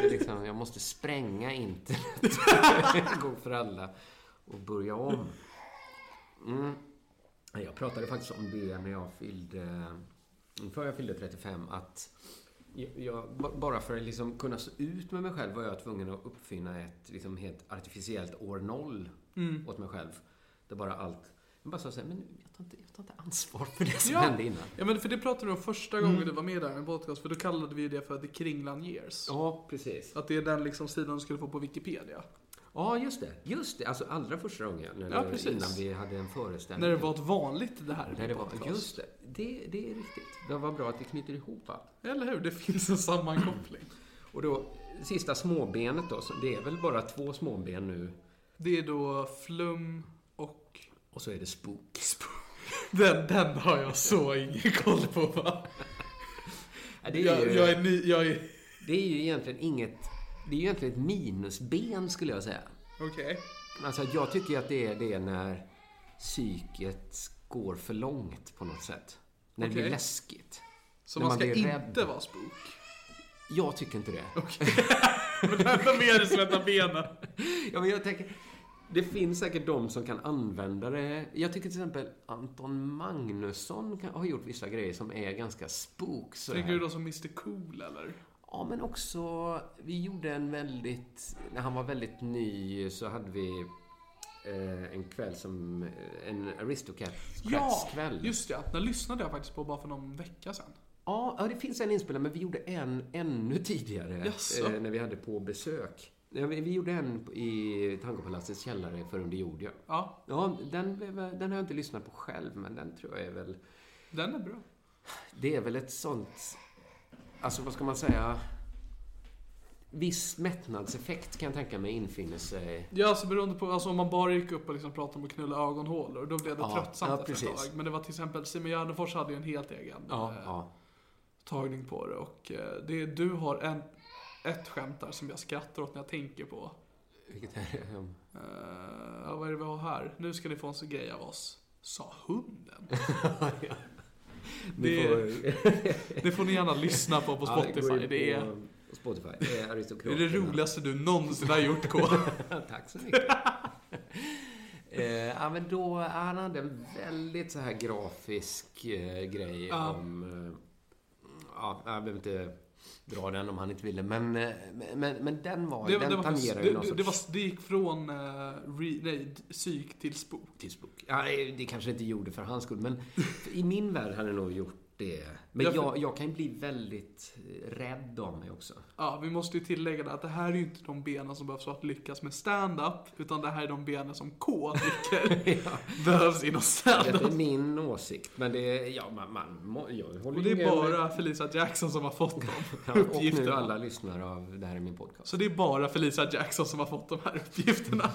C: Det är liksom, jag måste spränga internet en gång för alla och börja om. Mm. Jag pratade faktiskt om det när jag fyllde, inför jag fyllde 35, att jag, jag, ba- bara för att liksom kunna stå ut med mig själv var jag tvungen att uppfinna ett liksom helt artificiellt år noll åt mig själv. Där bara allt... Jag bara sa såhär, men nu, jag tar, inte, jag tar inte ansvar för det som
B: Ja.
C: hände innan.
B: Ja men för det pratade du om första gången du var med där i en podcast, för då kallade vi det för The Kringlan Years.
C: Ja, precis.
B: Att det är den liksom sidan du skulle få på Wikipedia.
C: Mm. Ja, just det. Just det. Alltså allra första gången. När
B: Ja,
C: det-
B: precis.
C: Innan vi hade en föreställning.
B: När det var ett vanligt det här
C: När det var
B: podcast.
C: just det. det. Det är riktigt. Det var bra att vi knyter ihop allt.
B: Eller hur? Det finns en sammankoppling.
C: Och då, sista småbenet då. Så det är väl bara två småben nu.
B: Det är då flum och...
C: Och så är det spook.
B: Den, den har jag så ingen koll på va?
C: Ja, det, är
B: Jag,
C: ju,
B: jag är ny, jag är...
C: det är ju egentligen inget... Det är ju egentligen ett minusben skulle jag säga.
B: Okej.
C: Alltså jag tycker att det är det när psyket går för långt på något sätt. När det
B: Okej.
C: blir läskigt.
B: Så
C: När
B: man
C: man
B: ska
C: blir
B: inte
C: rädd.
B: vara spook?
C: Jag tycker inte det.
B: Vänta med dig, svettar benen.
C: Ja, men jag tänker, det finns säkert de som kan använda det. Jag tycker till exempel Anton Magnusson kan, har gjort vissa grejer som är ganska spook. så
B: Tänker
C: här.
B: du då som Mr Cool eller?
C: Ja, men också, vi gjorde en väldigt, när han var väldigt ny så hade vi eh, en kväll som, eh, en Aristocats-kväll.
B: Just det, den lyssnade jag faktiskt på bara för någon vecka sedan.
C: Ja, ja, det finns en inspelad, men vi gjorde en ännu tidigare.
B: Jaså?
C: Eh, när vi hade på besök. Ja, vi, vi gjorde en i Tangopalatsets källare för under jord, ja.
B: Ja,
C: Ja, den, blev- den har jag inte lyssnat på själv, men den tror jag är väl...
B: den är bra.
C: Det är väl ett sånt... Alltså, vad ska man säga? Viss mättnadseffekt kan jag tänka mig infinner sig.
B: Ja, alltså beroende på, alltså om man bara gick upp och liksom pratade om att knulla ögonhålor, då blev det
C: Ja,
B: tröttsamt
C: ja,
B: efter ett
C: precis.
B: tag. Men det var till exempel, Simon Gärdenfors hade ju en helt egen
C: Ja,
B: eh,
C: ja.
B: tagning på det. Och eh, det, du har en, ett skämt där som jag skrattar åt när jag tänker på.
C: Vilket är... ehm,
B: Eh, ja, vad är det vi har här? Nu ska ni få en sån grej av oss. Sa hunden?
C: vi
B: Det-
C: får-
B: Det får ni gärna lyssna på på
C: Ja, gå in
B: Spotify. det är...
C: på Spotify. Det är
B: Det är
C: aristokraterna.
B: det roligaste du någonsin har gjort K.
C: Tack så mycket. Eh, ja, men då, han hade en väldigt så här grafisk eh, grej
B: Ja.
C: om... Eh, ja, jag behöver inte dra den om han inte ville. Men, eh, men, men den var,
B: Det,
C: den
B: det, var,
C: tangerar ju
B: det,
C: någon
B: det, det,
C: sorts...
B: var, det gick från eh, re, nej, psyk till spook.
C: tidsbok. Ja, det kanske inte gjorde för hans skull, men i min värld hade det nog gjort det.
B: Ja,
C: Men
B: för-
C: jag, jag kan ju bli väldigt eh, rädd av mig också.
B: Ja, vi måste ju tillägga det att det här är ju inte de benen som behövs för att lyckas med stand-up utan det här är de benen som K tycker behövs inom stand-up.
C: Detta är min åsikt, men det... Ja, man, man, må- jag håller
B: Och det
C: ju
B: är
C: med mig.
B: bara Felicia Jackson som har fått
C: Ja,
B: de
C: och nu
B: uppgifterna.
C: alla lyssnar av det här är min podcast.
B: Så det är bara Felicia Jackson som har fått de här uppgifterna.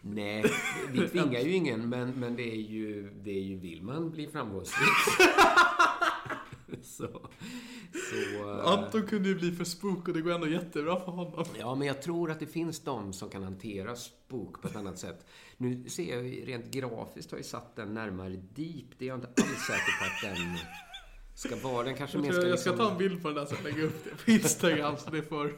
C: Nej, vi tvingar ju ingen, men, men det är ju, det är ju, vill man bli framgångsrik. så, så... eh,
B: Anton kunde ju bli för spook och det går ändå jättebra för honom.
C: Ja, men jag tror att det finns de som kan hantera spok på ett annat sätt. Nu ser jag ju rent grafiskt har jag satt den närmare deep. Det är jag inte alls säker på att den ska vara. Den kanske
B: Jag,
C: mer
B: tror jag,
C: ska
B: jag
C: liksom...
B: ska ta en bild på den där sen och lägga upp det på Instagram så det får...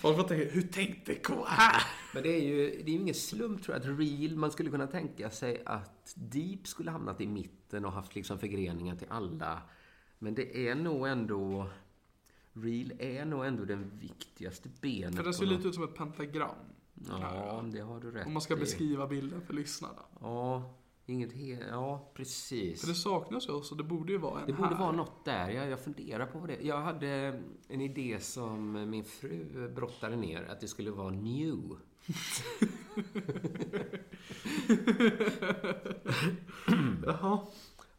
B: Folk får tänka, hur tänkte K här?
C: Men det är ju det är ju ingen slump tror jag att real, man skulle kunna tänka sig att deep skulle hamnat i mitten och haft liksom förgreningar till alla. Men det är nog ändå... Real är nog ändå den viktigaste benet.
B: För
C: på
B: den ser
C: något-
B: lite ut som ett pentagram.
C: Ja, det har du rätt
B: Om man ska
C: i.
B: beskriva bilden för lyssnarna.
C: Ja, inget he- Ja, precis.
B: För det saknas ju också, det borde ju vara en
C: Det borde
B: här.
C: vara något där. Jag, jag funderar på vad det. Jag hade en idé som min fru brottade ner, att det skulle vara new.
B: Jaha.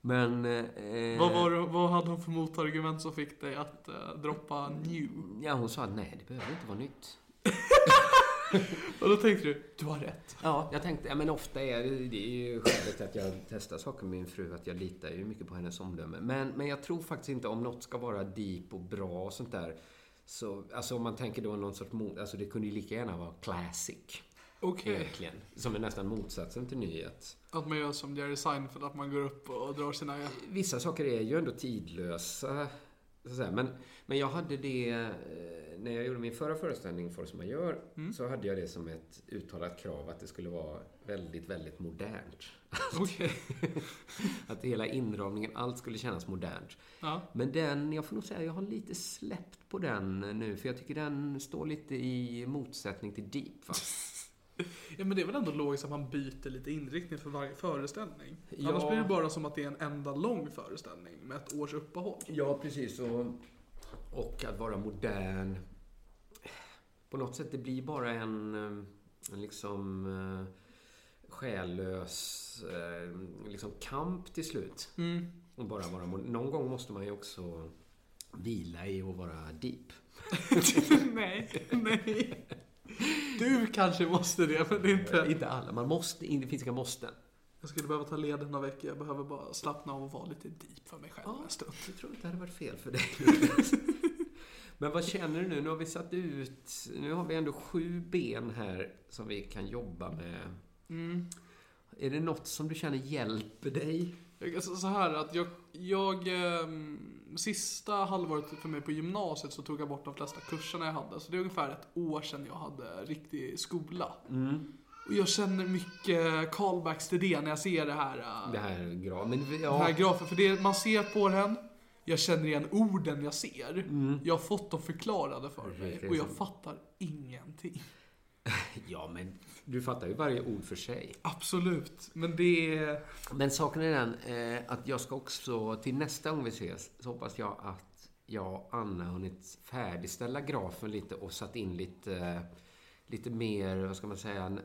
C: Men... Eh,
B: Vad, var, det- vad hade hon för motargument som fick dig att eh, droppa new?
C: Ja, hon sa att nej, det behöver inte vara nytt.
B: Och då tänkte du, du har rätt.
C: Ja, jag tänkte, ja, men ofta är det, det är ju skälet till att jag testar saker med min fru, att jag litar ju mycket på hennes omdöme. Men, men jag tror faktiskt inte om något ska vara deep och bra och sånt där. Så, alltså om man tänker då någon sorts mod, alltså det kunde ju lika gärna vara classic.
B: Okej.
C: Egentligen. Som är nästan motsatsen till nyhet.
B: Att man gör som Jerry Seinfeld, att man går upp och drar sina...
C: Vissa saker är ju ändå tidlösa. Så att säga. Men, men jag hade det, eh, när jag gjorde min förra föreställning, Folk som man gör, så hade jag det som ett uttalat krav att det skulle vara väldigt, väldigt modernt.
B: Okej.
C: att hela inramningen, allt skulle kännas modernt.
B: Ja.
C: Men den, jag får nog säga, jag har lite släppt på den nu, för jag tycker den står lite i motsättning till deep. Va?
B: Ja men det är väl ändå logiskt att man byter lite inriktning för varje föreställning?
C: Ja.
B: Annars blir det bara som att det är en enda lång föreställning med ett års uppehåll.
C: Ja, precis. Och, och att vara modern. På något sätt, det blir bara en, eh, en liksom eh, själlös eh, liksom kamp till slut.
B: Mm.
C: Och bara vara mo- Någon gång måste man ju också vila i att vara deep.
B: nej, nej. Du kanske måste det, men det är inte...
C: Eh, Inte alla, man måste, det finns inga måsten.
B: Jag skulle behöva ta leden några veckor, jag behöver bara slappna av och vara lite deep för mig själv en stund.
C: Jag tror inte det hade varit fel för dig. Men vad känner du nu? Nu har vi satt ut... Nu har vi ändå sju ben här som vi kan jobba med.
B: Mm.
C: Är det något som du känner hjälper dig?
B: Jag, alltså, så här att jag, jag ehm, sista halvåret för mig på gymnasiet så tog jag bort de flesta kurserna jag hade. Så det är ungefär ett år sedan jag hade riktig skola. Och jag känner mycket callbacks till det när jag ser det här. eh,
C: Det här är bra, men vi-
B: den
C: ja,
B: här grafen. För det man ser på den, jag känner igen orden jag ser. Jag har fått dem förklarade för mig
C: Precis.
B: och jag fattar ingenting.
C: ja, men du fattar ju varje ord för sig.
B: Absolut, men det är...
C: Men saken är den eh, att jag ska också, till nästa gång vi ses, så hoppas jag att jag och Anna har hunnit färdigställa grafen lite och satt in lite, lite mer, vad ska man säga,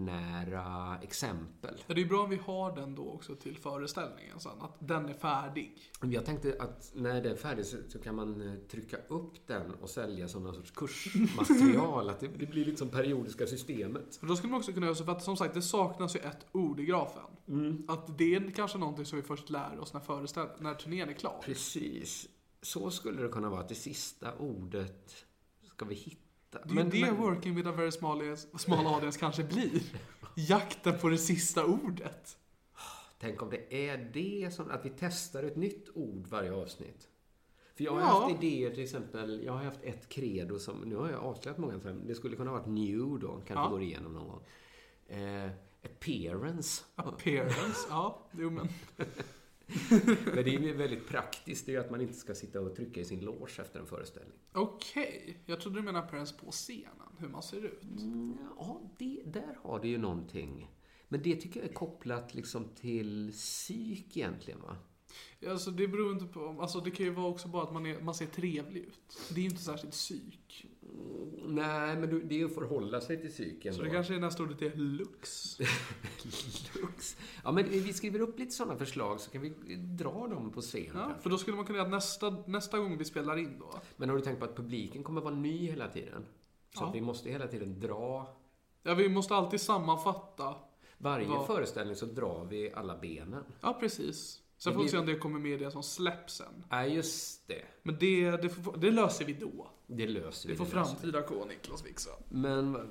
C: jordnära exempel.
B: Ja, det är bra om vi har den då också till föreställningen sen, att den är färdig.
C: Jag tänkte att när det är färdigt så, så kan man eh, trycka upp den och sälja som någon sorts kursmaterial. att det, det blir liksom periodiska systemet.
B: För då skulle man också kunna göra så, för att som sagt det saknas ju ett ord i grafen. Att det är kanske någonting som vi först lär oss när, föreställ- när turnén är klar.
C: Precis. Så skulle det kunna vara, att det sista ordet ska vi hitta.
B: Det är ju det Working with a very small, small audience kanske blir. Jakten på det sista ordet.
C: Tänk om det är det som, att vi testar ett nytt ord varje avsnitt. För jag har
B: Ja.
C: haft idéer till exempel, jag har haft ett credo som, nu har jag avslöjat många, så här, det skulle kunna ha varit new då, kanske
B: Ja.
C: går igenom någon gång. Eh, appearance.
B: Appearance, ja, jo men.
C: Men det är ju väldigt praktiskt, det är ju att man inte ska sitta och trycka i sin loge efter en föreställning.
B: Okej, jag trodde du menade press på scenen, hur man ser ut.
C: Ja, det, där har det ju någonting. Men det tycker jag är kopplat liksom till psyk egentligen va?
B: Alltså det beror inte på, alltså det kan ju vara också bara att man, är, man ser trevlig ut. Det är ju inte särskilt psyk.
C: Nej, men du- det är ju att förhålla sig till psyken
B: Så det kanske är nästa ordet är lux.
C: Lux. Ja, men vi skriver upp lite sådana förslag så kan vi dra dem på scen.
B: Ja,
C: kanske.
B: för då skulle man kunna göra att nästa, nästa gång vi spelar in då.
C: Men har du tänkt på att publiken kommer vara ny hela tiden? Så
B: Ja.
C: att vi måste hela tiden dra.
B: Ja, vi måste alltid sammanfatta.
C: Varje
B: Ja.
C: föreställning så drar vi alla benen.
B: Ja, precis. Sen
C: Det
B: får vi
C: blir-
B: se om det kommer med i det som släpps sen.
C: Nej, just det.
B: Men det, det, får, det löser vi då.
C: Det löser vi.
B: Det får
C: löser vi.
B: framtida K. Niklas fixa.
C: Men eh,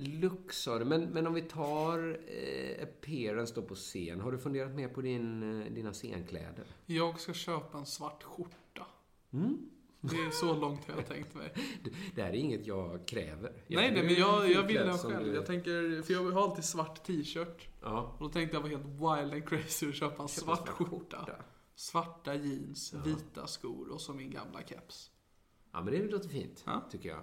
C: Lux sa du. Men, men om vi tar eh, appearance då på scen. Har du funderat mer på din, eh, dina scenkläder?
B: Jag ska köpa en svart skjorta.
C: Mm.
B: Det är så långt jag har tänkt mig.
C: Det- Det här är inget jag kräver. Jag
B: nej, nej,
C: tycker du
B: men
C: är
B: jag, jag vill
C: finklädd
B: den
C: som
B: själv.
C: du-
B: Jag tänker, för jag har alltid svart t-shirt.
C: Ja.
B: Och då tänkte jag vara helt wild and crazy och köpa en svart, skjorta. Svarta jeans, vita skor och så min gamla keps.
C: Ja, men det låter fint,
B: Ja.
C: tycker jag.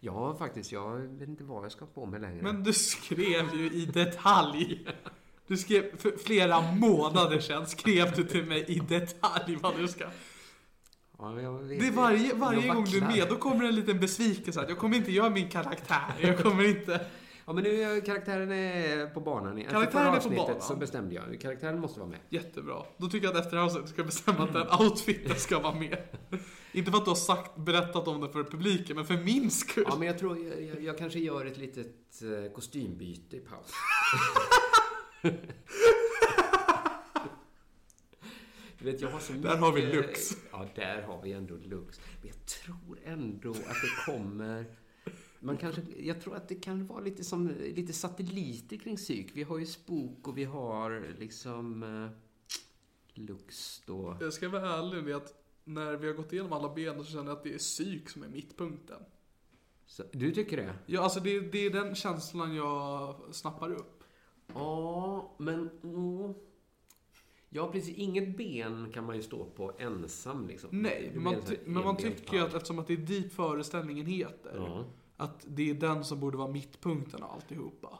C: Ja, faktiskt. Jag vet inte vad jag ska ha på mig längre.
B: Men du skrev ju i detalj. Du skrev för flera månader sedan skrev du till mig i detalj vad du ska.
C: Ja, men jag vet,
B: Det är varje, varje
C: jag
B: gång du är
C: vacklar.
B: med, då kommer en liten besvikelse. Att jag kommer inte göra min karaktär. Jag kommer inte...
C: Ja, men nu är jag- karaktären är på banan. igen.
B: Karaktären
C: Efter förra
B: är på
C: avsnittet
B: banan.
C: så bestämde jag. Karaktären måste vara med.
B: Jättebra. Då tycker jag att efter det här avsnittet ska jag bestämma att
C: Mm.
B: den outfiten ska vara med. Inte för att du har sagt, berättat om det för publiken, men för min skull.
C: Ja, men jag tror jag, jag, jag kanske gör ett litet eh, kostymbyte i paus. Du vet, jag har så
B: Där har vi
C: mycket-
B: Lux.
C: Ja, där har vi ändå Lux. Men jag tror ändå att det kommer... Man kanske, jag tror att det kan vara lite som lite satelliter kring psyk. Vi har ju Spook och vi har liksom eh, Lux då.
B: Jag ska vara ärlig med att när vi har gått igenom alla ben så känner jag att det är psyk som är mittpunkten.
C: Så, du tycker det?
B: Ja, alltså det, det är den känslan jag snappar upp.
C: Ja, men... Mm. Ja, precis. Inget ben kan man ju stå på ensam. Liksom.
B: Nej,
C: Det
B: men
C: blir
B: man,
C: en sån
B: ty-
C: här
B: men man
C: enbent
B: tycker ju att
C: park.
B: eftersom att det är dit föreställningen heter,
C: Ja.
B: att det är den som borde vara mittpunkten av alltihopa.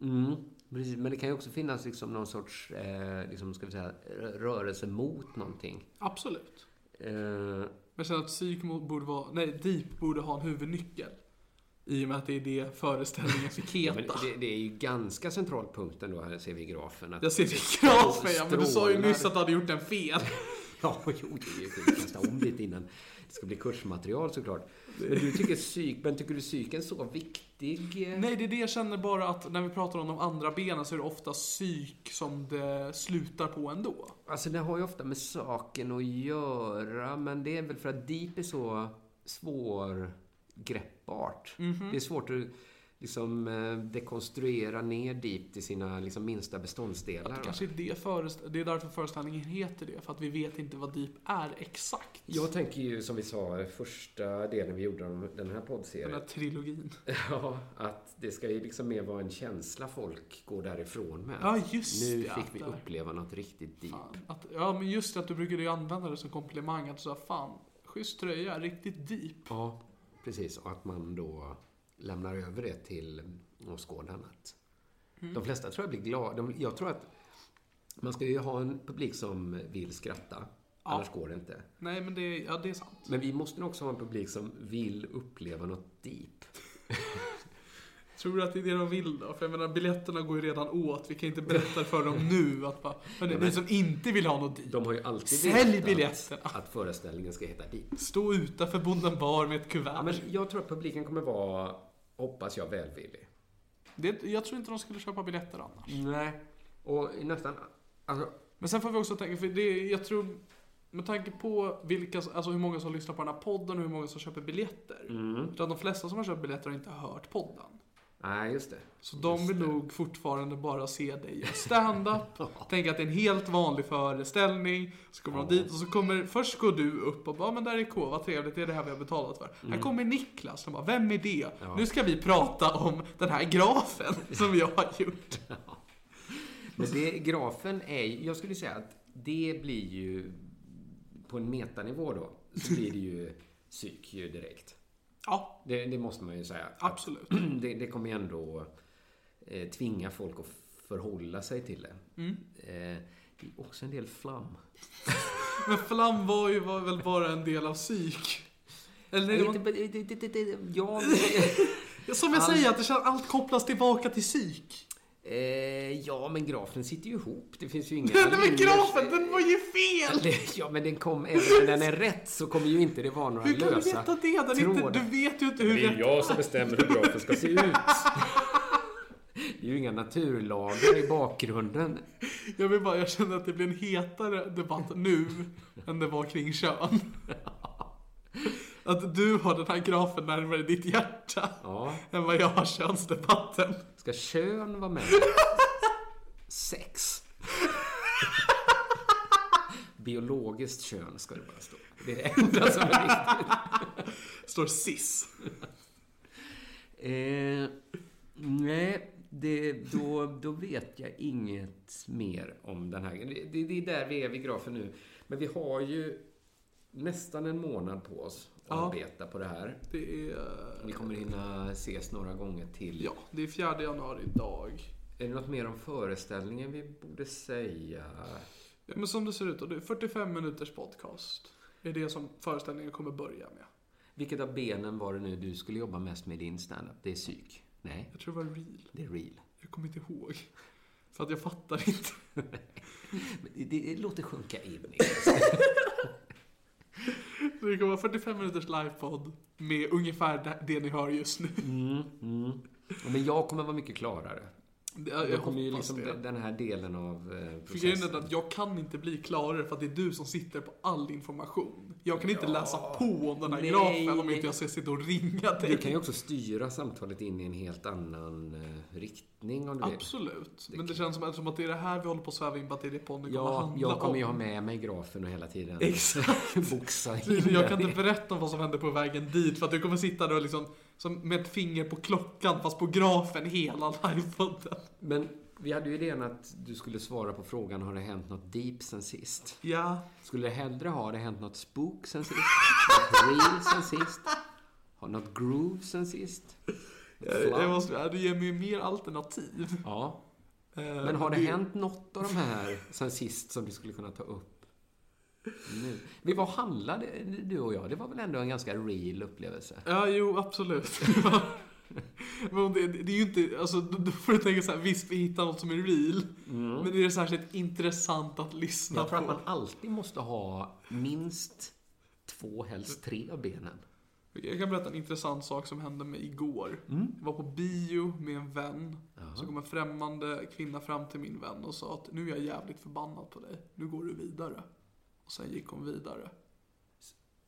C: Mm, precis. Men det kan ju också finnas liksom någon sorts eh, liksom, ska vi säga, rörelse mot någonting.
B: Absolut.
C: Eh,
B: Men sen att psyk mo- borde vara, nej, deep borde ha en huvudnyckel. I och med att det är det föreställningen fick
C: ja, men
B: heta.
C: det, det är ju ganska central punkt ändå, här ser vi i grafen. Att,
B: Jag ser det klart för men du sa ju
C: Strålar.
B: nyss att du hade gjort en fel.
C: Ja, jo, det är ju skit. Kasta om lite innan. Det ska bli kursmaterial såklart. Men du tycker psyk, men tycker du psyken är så viktig? eh,
B: Nej, det är det jag känner bara att när vi pratar om de andra benen så är det ofta psyk som det slutar på ändå.
C: Alltså det har ju ofta med saken att göra, men det är väl för att deep är så svårgreppbart.
B: Mhm.
C: Det är svårt att liksom eh, dekonstruera ner deep till sina liksom minsta beståndsdelar. va?
B: Kanske är det, förest- det är därför föreställningen heter det, för att vi vet inte vad deep är exakt.
C: Jag tänker ju som vi sa i första delen vi gjorde om den här
B: Den
C: poddserien.
B: här trilogin.
C: Ja, att det ska ju liksom mer vara en känsla folk går därifrån med.
B: Ja, just
C: nu
B: det,
C: fick vi
B: där.
C: uppleva något riktigt deep.
B: Fan. Att, ja, men just det, att du brukade ju använda det som komplimang. Att du sa fan, schysst tröja, riktigt deep.
C: Ja, precis. Och att man då lämnar över det till åskådaren. att De flesta tror jag blir glada. De, jag tror att man ska ju ha en publik som vill skratta. Annars går det inte.
B: Nej, men det, ja, det är sant.
C: Men vi måste nog också ha en publik som vill uppleva något deep.
B: Tror du att det är det de vill då? För jag menar, biljetterna går ju redan åt. Vi kan inte berätta för dem nu att bara, men det är ni som inte vill ha något deep.
C: De har ju alltid
B: Sälj
C: vetat
B: biljetterna.
C: att föreställningen ska heta deep.
B: Stå utanför Bonden bar med ett kuvert.
C: Ja, men jag tror att publiken kommer vara, hoppas jag, välvillig.
B: det, jag tror inte de skulle köpa biljetter annars.
C: Nej. Och nästan... Alltså,
B: Men sen får vi också tänka, för det, jag tror, med tanke på vilka, alltså hur många som lyssnar på den här podden och hur många som köper biljetter. Mm. Utan de flesta som har köpt biljetter har inte hört podden.
C: nej, just det.
B: Så de vill nog fortfarande bara se dig göra stand-up, tänka att det är en helt vanlig föreställning, så kommer de dit och så kommer, först går du upp och bara, "Ja, men där är K, vad trevligt, det är det här vi har betalat för.
C: Mm.
B: Här kommer Niklas, de bara, vem är det? Nu ska vi prata om den här grafen som jag har gjort.
C: Men det, grafen är ju- Jag skulle säga att det blir ju, på en metanivå då, så blir det ju psyk ju direkt.
B: Ja,
C: Det, det måste man ju säga.
B: absolut.
C: Det, det kommer ju ändå eh, tvinga folk att förhålla sig till det.
B: Mm.
C: Eh, det är också en del flam.
B: Men flam var ju var väl bara en del av psyk? Eller nej, det var,
C: Inte- det- det- det- det- Ja,
B: som jag säger, att det känns, allt kopplas tillbaka till psyk.
C: eh, ja, men grafen sitter ju ihop. Det finns ju inga...
B: Nej men
C: linjer.
B: grafen, den var ju fel!
C: Det- Ja, men den kom, även om den är rätt så kommer ju inte det vara några
B: Hur kan du
C: lösa
B: veta det? Den är inte,
C: trådar.
B: du vet ju inte hur
C: Alltså, Det är ju
B: rätt...
C: jag som bestämmer hur grafen ska se ut. Det är ju inga naturlagar i bakgrunden.
B: Jag vill bara, jag känner att det blir en hetare debatt nu än det var kring kön. Att du har den här grafen närmare ditt hjärta
C: Ja,
B: än vad jag har könsdebatten.
C: ska kön vara med? Sex. Biologiskt kön ska det bara stå. Det är det enda som är viktigt.
B: Står cis.
C: Eh, nej, det, då, då vet jag inget mer om den här. Det, det, det är där vi är vid grafen nu. Men vi har ju nästan en månad på oss att
B: Ja.
C: arbeta på det här.
B: Det är...
C: Vi kommer hinna ses några gånger till.
B: Ja, det är 4 januari idag.
C: Är det något mer om föreställningen vi borde säga?
B: Ja, men som det ser ut då, det är 45 minuters podcast. Det är det som föreställningen kommer börja med.
C: Vilket av benen var det nu du skulle jobba mest med i din standup? Det är psyk? Nej,
B: Jag tror det var real.
C: det är real.
B: Jag kommer inte ihåg. För att jag fattar inte.
C: Men det, det låter sjunka in.
B: Det kommer vara 45 minuters livepodd med ungefär det- det ni hör just nu.
C: Mm, mm. Men jag kommer vara mycket klarare.
B: Det- Jag,
C: Då
B: jag
C: kommer
B: hoppas
C: ju liksom
B: det.
C: den- den här delen av eh,
B: För grejen är
C: processen.
B: att jag kan inte bli klarare för att det är du som sitter på all information. Jag kan inte läsa på om den här
C: Nej.
B: grafen om inte jag ska sitta och ringa
C: Du
B: dig.
C: kan ju också styra samtalet in i en helt annan eh, riktning om du vill.
B: Absolut. Men det känns som, som att det är det här vi håller på att sväva in på att det är det podden kommer
C: Ja,
B: handla
C: jag kommer
B: om.
C: ju ha med mig grafen och hela tiden boxa in
B: Precis, Jag kan
C: den.
B: inte berätta om vad som hände på vägen dit för att du kommer sitta där och liksom som med ett finger på klockan fast på grafen hela livepodden.
C: Men vi hade ju idén att du skulle svara på frågan har det hänt något deep sen sist?
B: Ja,
C: Skulle du hellre ha det hänt något spook sen sist? något real sen sist? Har något groove sen sist?
B: det, måste, ja, det ger mig ju mer alternativ.
C: Ja.
B: Eh,
C: Men har det hänt något av de här sen sist som du skulle kunna ta upp? Nu. Vi var och handlade, du och jag. Det var väl ändå en ganska real upplevelse?
B: Ja, jo, absolut. Men om det, det är ju inte, alltså då då får du tänka så här, visst vi hittar något som är real, men är det särskilt intressant att lyssna
C: Mm. Jag tror att
B: på?
C: man alltid måste ha minst två, helst tre av benen.
B: Jag kan berätta en intressant sak som hände mig igår.
C: Mm.
B: Jag var på bio med en vän. Så kom en främmande kvinna fram till min vän och sa att nu är jag jävligt förbannad på dig. Nu går du vidare. Och sen gick hon vidare.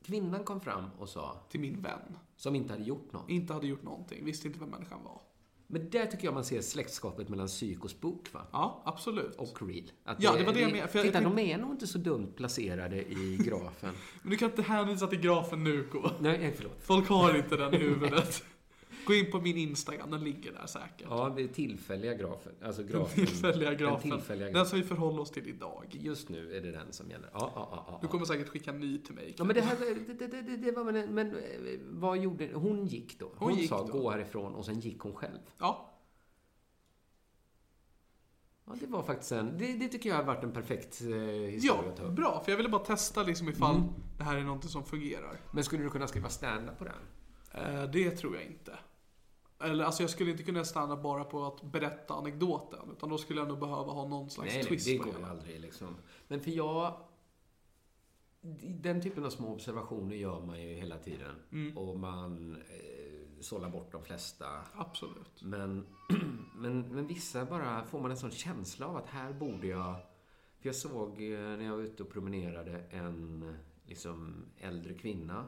C: Kvinnan kom fram och sa,
B: Till min vän.
C: som inte hade gjort något.
B: Inte hade gjort någonting, visste inte vem människan var.
C: Men där tycker jag man ser släktskapet mellan psyk och spook, va?
B: Ja, absolut.
C: Och real. Att
B: Ja, det var det jag menade, för jag-
C: Titta,
B: jag
C: de är nog inte så dumt placerade i grafen.
B: Men du kan inte hänvisa till grafen nu, K.
C: Nej, eh, förlåt.
B: Folk har inte den i huvudet. Gå in på min Instagram, den ligger där säkert.
C: Ja, det är tillfälliga grafen. Alltså grafen.
B: den tillfälliga grafen.
C: Den
B: Den,
C: tillfälliga grafen.
B: som vi förhåller oss till idag.
C: Just nu är det den som gäller. Ja, ja, ja.
B: Du
C: ja.
B: kommer säkert skicka en ny till mig.
C: Ja, men det, här, det, det, det, det var väl en, Men eh, vad gjorde... Hon gick då. Hon,
B: gick
C: sa
B: då.
C: gå härifrån och sen gick hon själv.
B: Ja,
C: Ja, det var faktiskt en... Det, det tycker jag har varit en perfekt eh, historia
B: Ja,
C: att ta upp. Mm.
B: bra. För jag ville bara testa liksom ifall det här är någonting som fungerar.
C: Men skulle du kunna skriva stand-up på den?
B: Eh, det tror jag inte. Eller alltså jag skulle inte kunna stanna bara på att berätta anekdoten. Utan då skulle jag nog behöva ha någon slags
C: Nej, nej,
B: twist
C: det
B: på
C: går ju
B: hela.
C: aldrig liksom. Men för jag... Den typen av små observationer gör man ju hela tiden.
B: Mm.
C: Och man eh, sållar bort de flesta.
B: Absolut.
C: Men, men, men vissa bara får man en sån känsla av att här borde jag... För jag såg eh, när jag var ute och promenerade en liksom, äldre kvinna,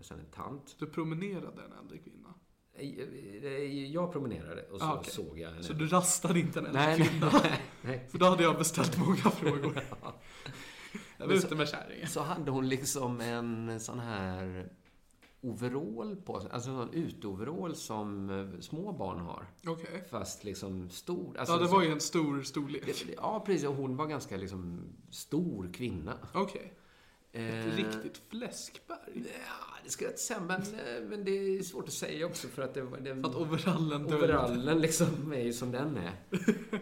C: sen en tant.
B: Du promenerade en äldre kvinna.
C: Eh, eh, Jag promenerade och så
B: Ah, okej.
C: såg jag henne.
B: Så du rastade inte en äldre
C: Nej, nej,
B: kvinna.
C: nej, nej.
B: För då hade jag beställt många frågor. Jag var ute med kärringen.
C: Så hade hon liksom en sån här overall på sig. Alltså en sån uteoverall som eh, små barn har.
B: Okej.
C: Fast liksom stor. Alltså,
B: Ja, det
C: så-
B: var ju en stor storlek.
C: Ja, precis. Och hon var ganska liksom stor kvinna.
B: Okej.
C: Eh,
B: Ett riktigt fläskberg.
C: Ja, det skulle jag inte säga, men, eh, men det är svårt att säga också för att det var... Det,
B: För att overallen döljer-
C: overallen liksom är ju som den är.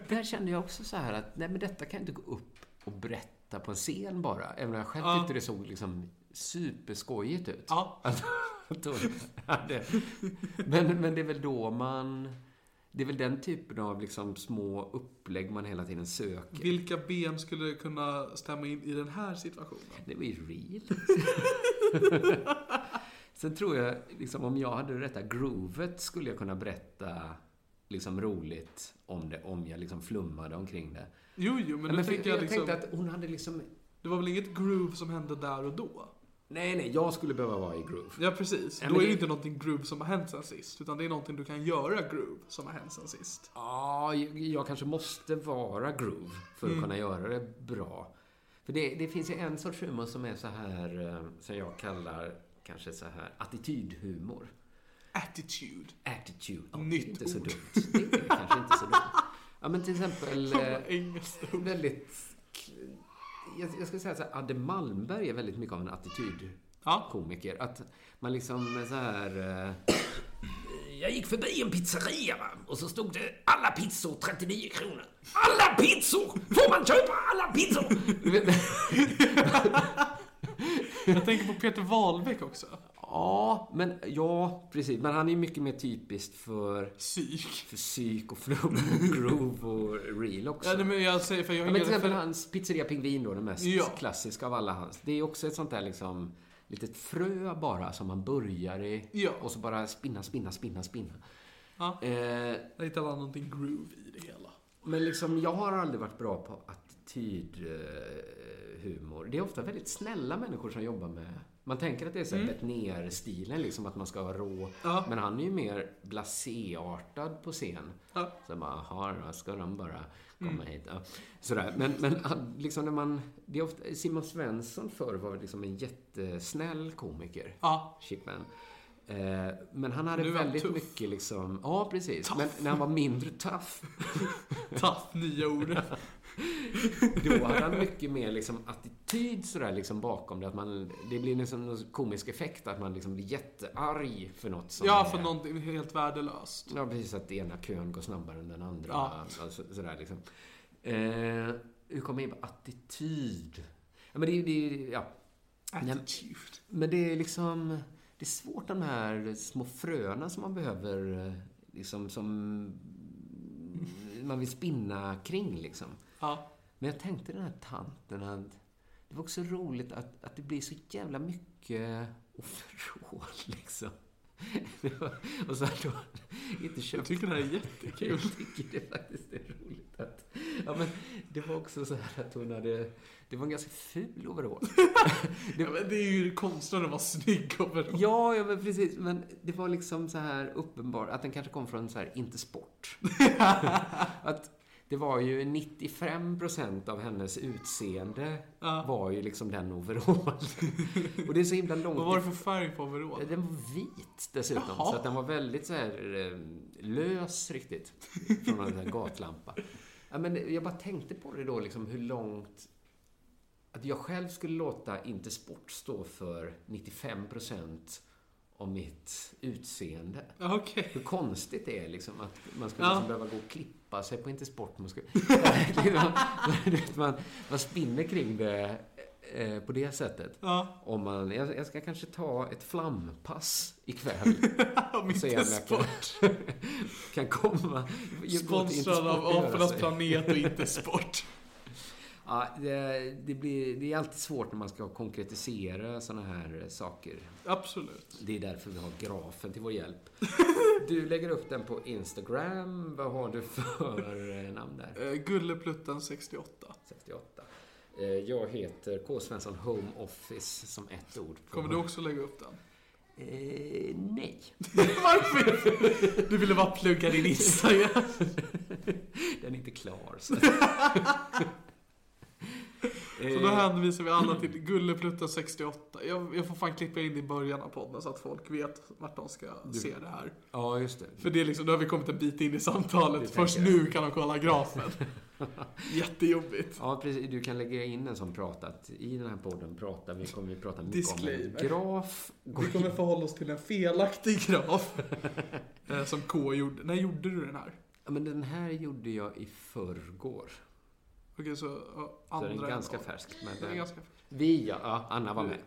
C: Där kände jag också så här att, nej men detta kan jag inte gå upp och berätta på en scen bara. Även om jag själv tyckte det såg liksom superskojigt ut.
B: Ja.
C: Att- att hon hade- men, men det är väl då man... Det är väl den typen av liksom små upplägg man hela tiden söker.
B: Vilka ben skulle kunna stämma in i den här situationen?
C: Det var ju real. Sen tror jag, liksom, om jag hade det rätta groovet skulle jag kunna berätta liksom, roligt om det, om jag liksom flummade omkring det.
B: Jo, jo, men,
C: Men
B: nu
C: men för,
B: tänker
C: jag
B: jag, liksom...
C: tänkte att hon hade liksom...
B: Det var väl inget groove som hände där och då?
C: Nej, nej, jag skulle behöva vara i groove.
B: Ja, precis.
C: Ja,
B: då
C: men
B: är
C: det-
B: det inte någonting groove som har hänt sen sist, utan det är någonting du kan göra groove som har hänt sen sist.
C: Ja, jag, jag kanske måste vara groove för att kunna göra det bra. För det, det finns ju en sorts humor som är så här, eh, som jag kallar kanske så här, attitydhumor.
B: Attitude.
C: Attitude. Ja,
B: Nytt
C: det är inte så
B: ord.
C: dumt. Det är kanske inte så dumt. Ja, men till exempel... eh,
B: Engelskt.
C: väldigt... Jag, jag skulle säga så här, Adde Malmberg är väldigt mycket av en
B: Ja.
C: attitydkomiker. Att man liksom är så här... eh, Jag gick förbi en pizzeria va? och så stod det alla pizzor 39 kronor. Alla pizzor! Får man köpa alla pizzor? Du vet-
B: Jag tänker på Peter Wahlbeck också.
C: ja, men ja, precis. Men han är ju mycket mer typiskt för
B: Psyk.
C: fysik och flum och groove och reel också.
B: Ja, nej, men jag säger för jag
C: Ja,
B: har
C: men
B: ingen
C: till exempel
B: referens-
C: hans pizzeria Pingvin då, den mest
B: Ja.
C: klassiska av alla hans. Det är också ett sånt där liksom litet frö bara som man börjar i
B: Ja.
C: och så bara spinna, spinna, spinna, spinna.
B: Ja.
C: Eh,
B: Där hittade han någonting groove i det hela.
C: men liksom, jag har aldrig varit bra på attitydhumor. Eh, humor. det är ofta väldigt snälla människor som jobbar med man tänker att det är såhär mm. ner stilen liksom att man ska vara rå.
B: Ja.
C: Men han är ju mer blaséartad på scen.
B: Ja. Mm.
C: Så bara, jaha då ska de bara komma hit. Ja. Sådär. Men, men han- liksom när man, det är ofta, Simon Svensson förr var liksom en jättesnäll komiker.
B: Ja.
C: Chipman. Eh, Men han hade
B: Nu är han
C: väldigt
B: tuff.
C: mycket liksom, ja precis, men när han var mindre tough
B: Taff, nya ordet.
C: Då hade han mycket mer liksom attityd sådär liksom bakom det. Att man, det blir liksom en komisk effekt att man liksom blir jättearg för något som
B: Ja,
C: är-
B: för någonting helt värdelöst.
C: Ja, precis. Att ena kön går snabbare än den andra.
B: Ja.
C: Alltså, sådär liksom. Eh, hur kommer jag in på attityd? Ja, men det är det är- ja.
B: Attitude.
C: Men det är liksom... Det är svårt de här små fröna som man behöver, eh, liksom som man vill spinna kring liksom.
B: Ja.
C: Men jag tänkte den här tanten att det var också roligt att, att det blir så jävla mycket overall liksom. Det var- Och så har de inte köpt...
B: Jag tycker det här är jättekul.
C: Jag tycker det faktiskt är roligt att... Ja, men det var också så här att hon hade... Det var en ganska ful overall.
B: Ja, men det är ju konstnären att vara snygg överallt.
C: Ja, ja men precis. Men det var liksom så här uppenbart att den kanske kom från så här, inte sport. att det var ju 95% av hennes utseende
B: Ja.
C: var ju liksom den overall. Och det är så himla långt
B: Vad var det
C: ifrån-
B: för färg på overallen?
C: Den var vit dessutom,
B: Jaha.
C: så att den var väldigt så här, eh, lös riktigt. Från en sån här gatlampa. Ja, men jag bara tänkte på det då, liksom hur långt... Att jag själv skulle låta inte sport stå för 95 procent av mitt utseende.
B: Ja, Okej.
C: Hur konstigt det är liksom att man skulle
B: Ja.
C: liksom behöva gå och klippa sig på inte sport. Man, skulle, liksom, du vet, man, man spinner kring det eh, på det sättet.
B: Ja.
C: Om man, jag, jag ska kanske ta ett flampass ikväll.
B: Om
C: Så
B: inte
C: jävla
B: sport.
C: kan komma.
B: Sponsrad av Apornas
C: Apornas
B: planet och inte sport.
C: ja, det, det, blir, det är alltid svårt när man ska konkretisera såna här saker.
B: Absolut.
C: Det är därför vi har grafen till vår hjälp. Du lägger upp den på Instagram. Vad har du för eh, namn där?
B: Eh, Gulleplutten 68.
C: 68. Eh, Jag heter K. Svensson Home Office som ett ord. På.
B: Kommer du också lägga upp den?
C: Eh, nej.
B: Varför? Du ville bara plugga din Instagram.
C: Den är inte klar. Så. att-
B: Så då hänvisar vi alla till Gulleplutta 68. Jag, jag får fan klippa in det i början av podden så att folk vet vart de ska se det här.
C: Ja, just det.
B: För det är liksom, då har vi kommit en bit in i samtalet. Först
C: tänker jag.
B: nu kan de kolla grafen. Jättejobbigt.
C: Ja, precis. Du kan lägga in en som pratat. I den här podden pratar vi, kommer vi prata mycket om
B: Disclaimer.
C: en graf. Gå
B: Vi kommer
C: in-
B: förhålla oss till en felaktig graf. Eh, Som K gjorde. När gjorde du den här?
C: Ja, men den här gjorde jag i förrgår.
B: Okej, så ja,
C: Så
B: andra
C: den är ganska
B: januari.
C: färsk.
B: Den
C: Men
B: är ganska färsk.
C: Vi, ja. ja Anna var med.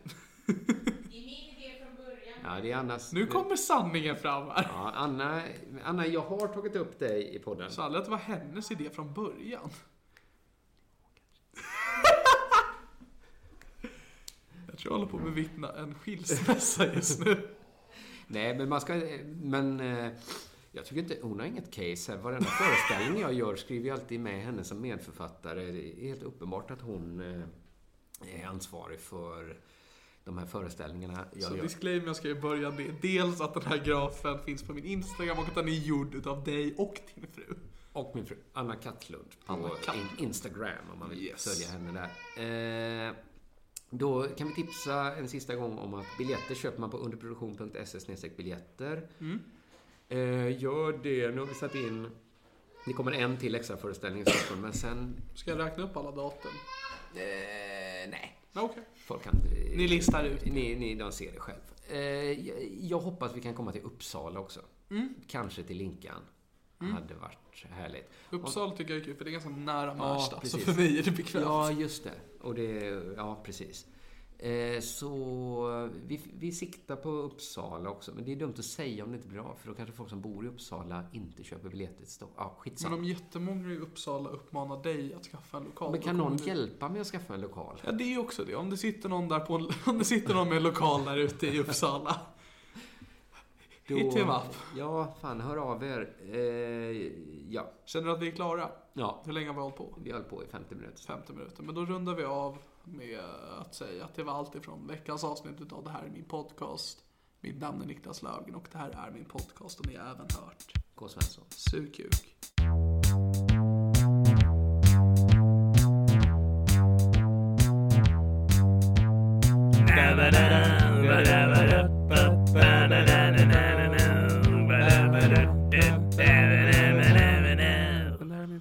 C: Ja, det är Annas...
B: Nu kommer sanningen fram här.
C: Ja, Anna, Anna, jag har tagit upp dig i podden.
B: Sa aldrig att det var hennes idé från början? Jag tror jag håller på att bevittna en skilsmässa just nu.
C: Nej, men man ska... Men eh, jag tycker inte... Hon har inget case här. Varenda föreställning jag gör skriver jag alltid med henne som medförfattare. Det är helt uppenbart att hon eh, är ansvarig för de här föreställningarna jag
B: Så
C: gör.
B: disclaimer jag ska ju börja med. Dels att den här grafen finns på min Instagram och att den är gjord utav dig och din fru.
C: Och min fru Anna Kattlund på
B: Anna Kattlund.
C: in- Instagram om man vill
B: Yes.
C: följa henne där. Eh, då kan vi tipsa en sista gång om att biljetter köper man på underproduktion.se biljetter.
B: Mm.
C: Eh, gör det. Nu har vi satt in... Det kommer en till extra föreställning i Stockholm, men sen...
B: Ska jag räkna upp alla datum?
C: Eh, nej.
B: Ja, Okej.
C: Folk kan...
B: Ni listar ut.
C: Ni, ni, de ser det själv. Eh, jag, jag hoppas vi kan komma till Uppsala också.
B: Mm.
C: Kanske till Linkan. Hade varit härligt.
B: Uppsala tycker jag är kul för det är ganska nära Märsta. så
C: precis.
B: för mig är det bekvämt.
C: Ja, just det. Och det ja, precis. Eh, Så vi, vi siktar på Uppsala också. Men det är dumt att säga om det inte blir av, för då kanske folk som bor i Uppsala inte köper biljetter till Stockholm. Ja,
B: Men
C: skitsamma.
B: om jättemånga i Uppsala uppmanar dig att skaffa en lokal.
C: Men
B: då
C: kan
B: kommer
C: någon
B: du-
C: hjälpa mig att skaffa en lokal?
B: Ja, det är ju också det. Om det sitter någon, där på en, om det sitter någon med en lokal där ute i Uppsala. Hit him up.
C: Ja, fan, hör av er. Eh, ja.
B: Känner du att vi är klara?
C: ja,
B: Hur länge har vi hållit på?
C: vi höll på i 50 minuter.
B: 50 minuter. Men då rundar vi av med att säga att det var allt ifrån veckans avsnitt utav Det här är min podcast. Mitt namn är Niklas Löfgren och det här är min podcast och ni har även hört
C: K. Svensson.
B: Sug kuk.
D: Det här är min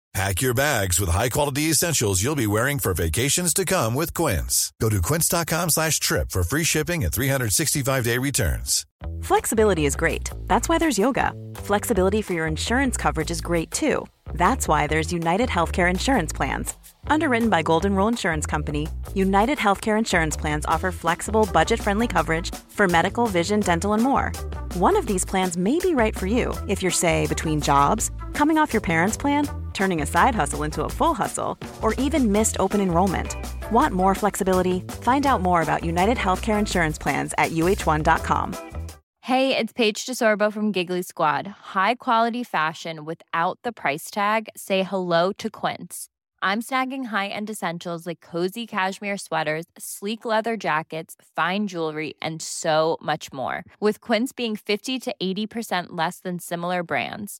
E: Pack your bags with high-quality essentials you'll be wearing for vacations to come with Quince. Go to quince.com slash trip for free shipping and 365-day returns.
A: Flexibility is great. That's why there's yoga. Flexibility for your insurance coverage is great too. That's why there's United Healthcare Insurance Plans. Underwritten by Golden Rule Insurance Company, United Healthcare Insurance Plans offer flexible, budget friendly coverage for medical, vision, dental, and more. One of these plans may be right for you if you're, say, between jobs, coming off your parents' plan, turning a side hustle into a full hustle, or even missed open enrollment. Want more flexibility? Find out more about United Healthcare Insurance Plans at uh1.com.
F: Hey, it's Paige DeSorbo from Giggly Squad. High quality fashion without the price tag. Say hello to Quince. I'm snagging high-end essentials like cozy cashmere sweaters, sleek leather jackets, fine jewelry, and so much more. With Quince being 50 to 80% less than similar brands.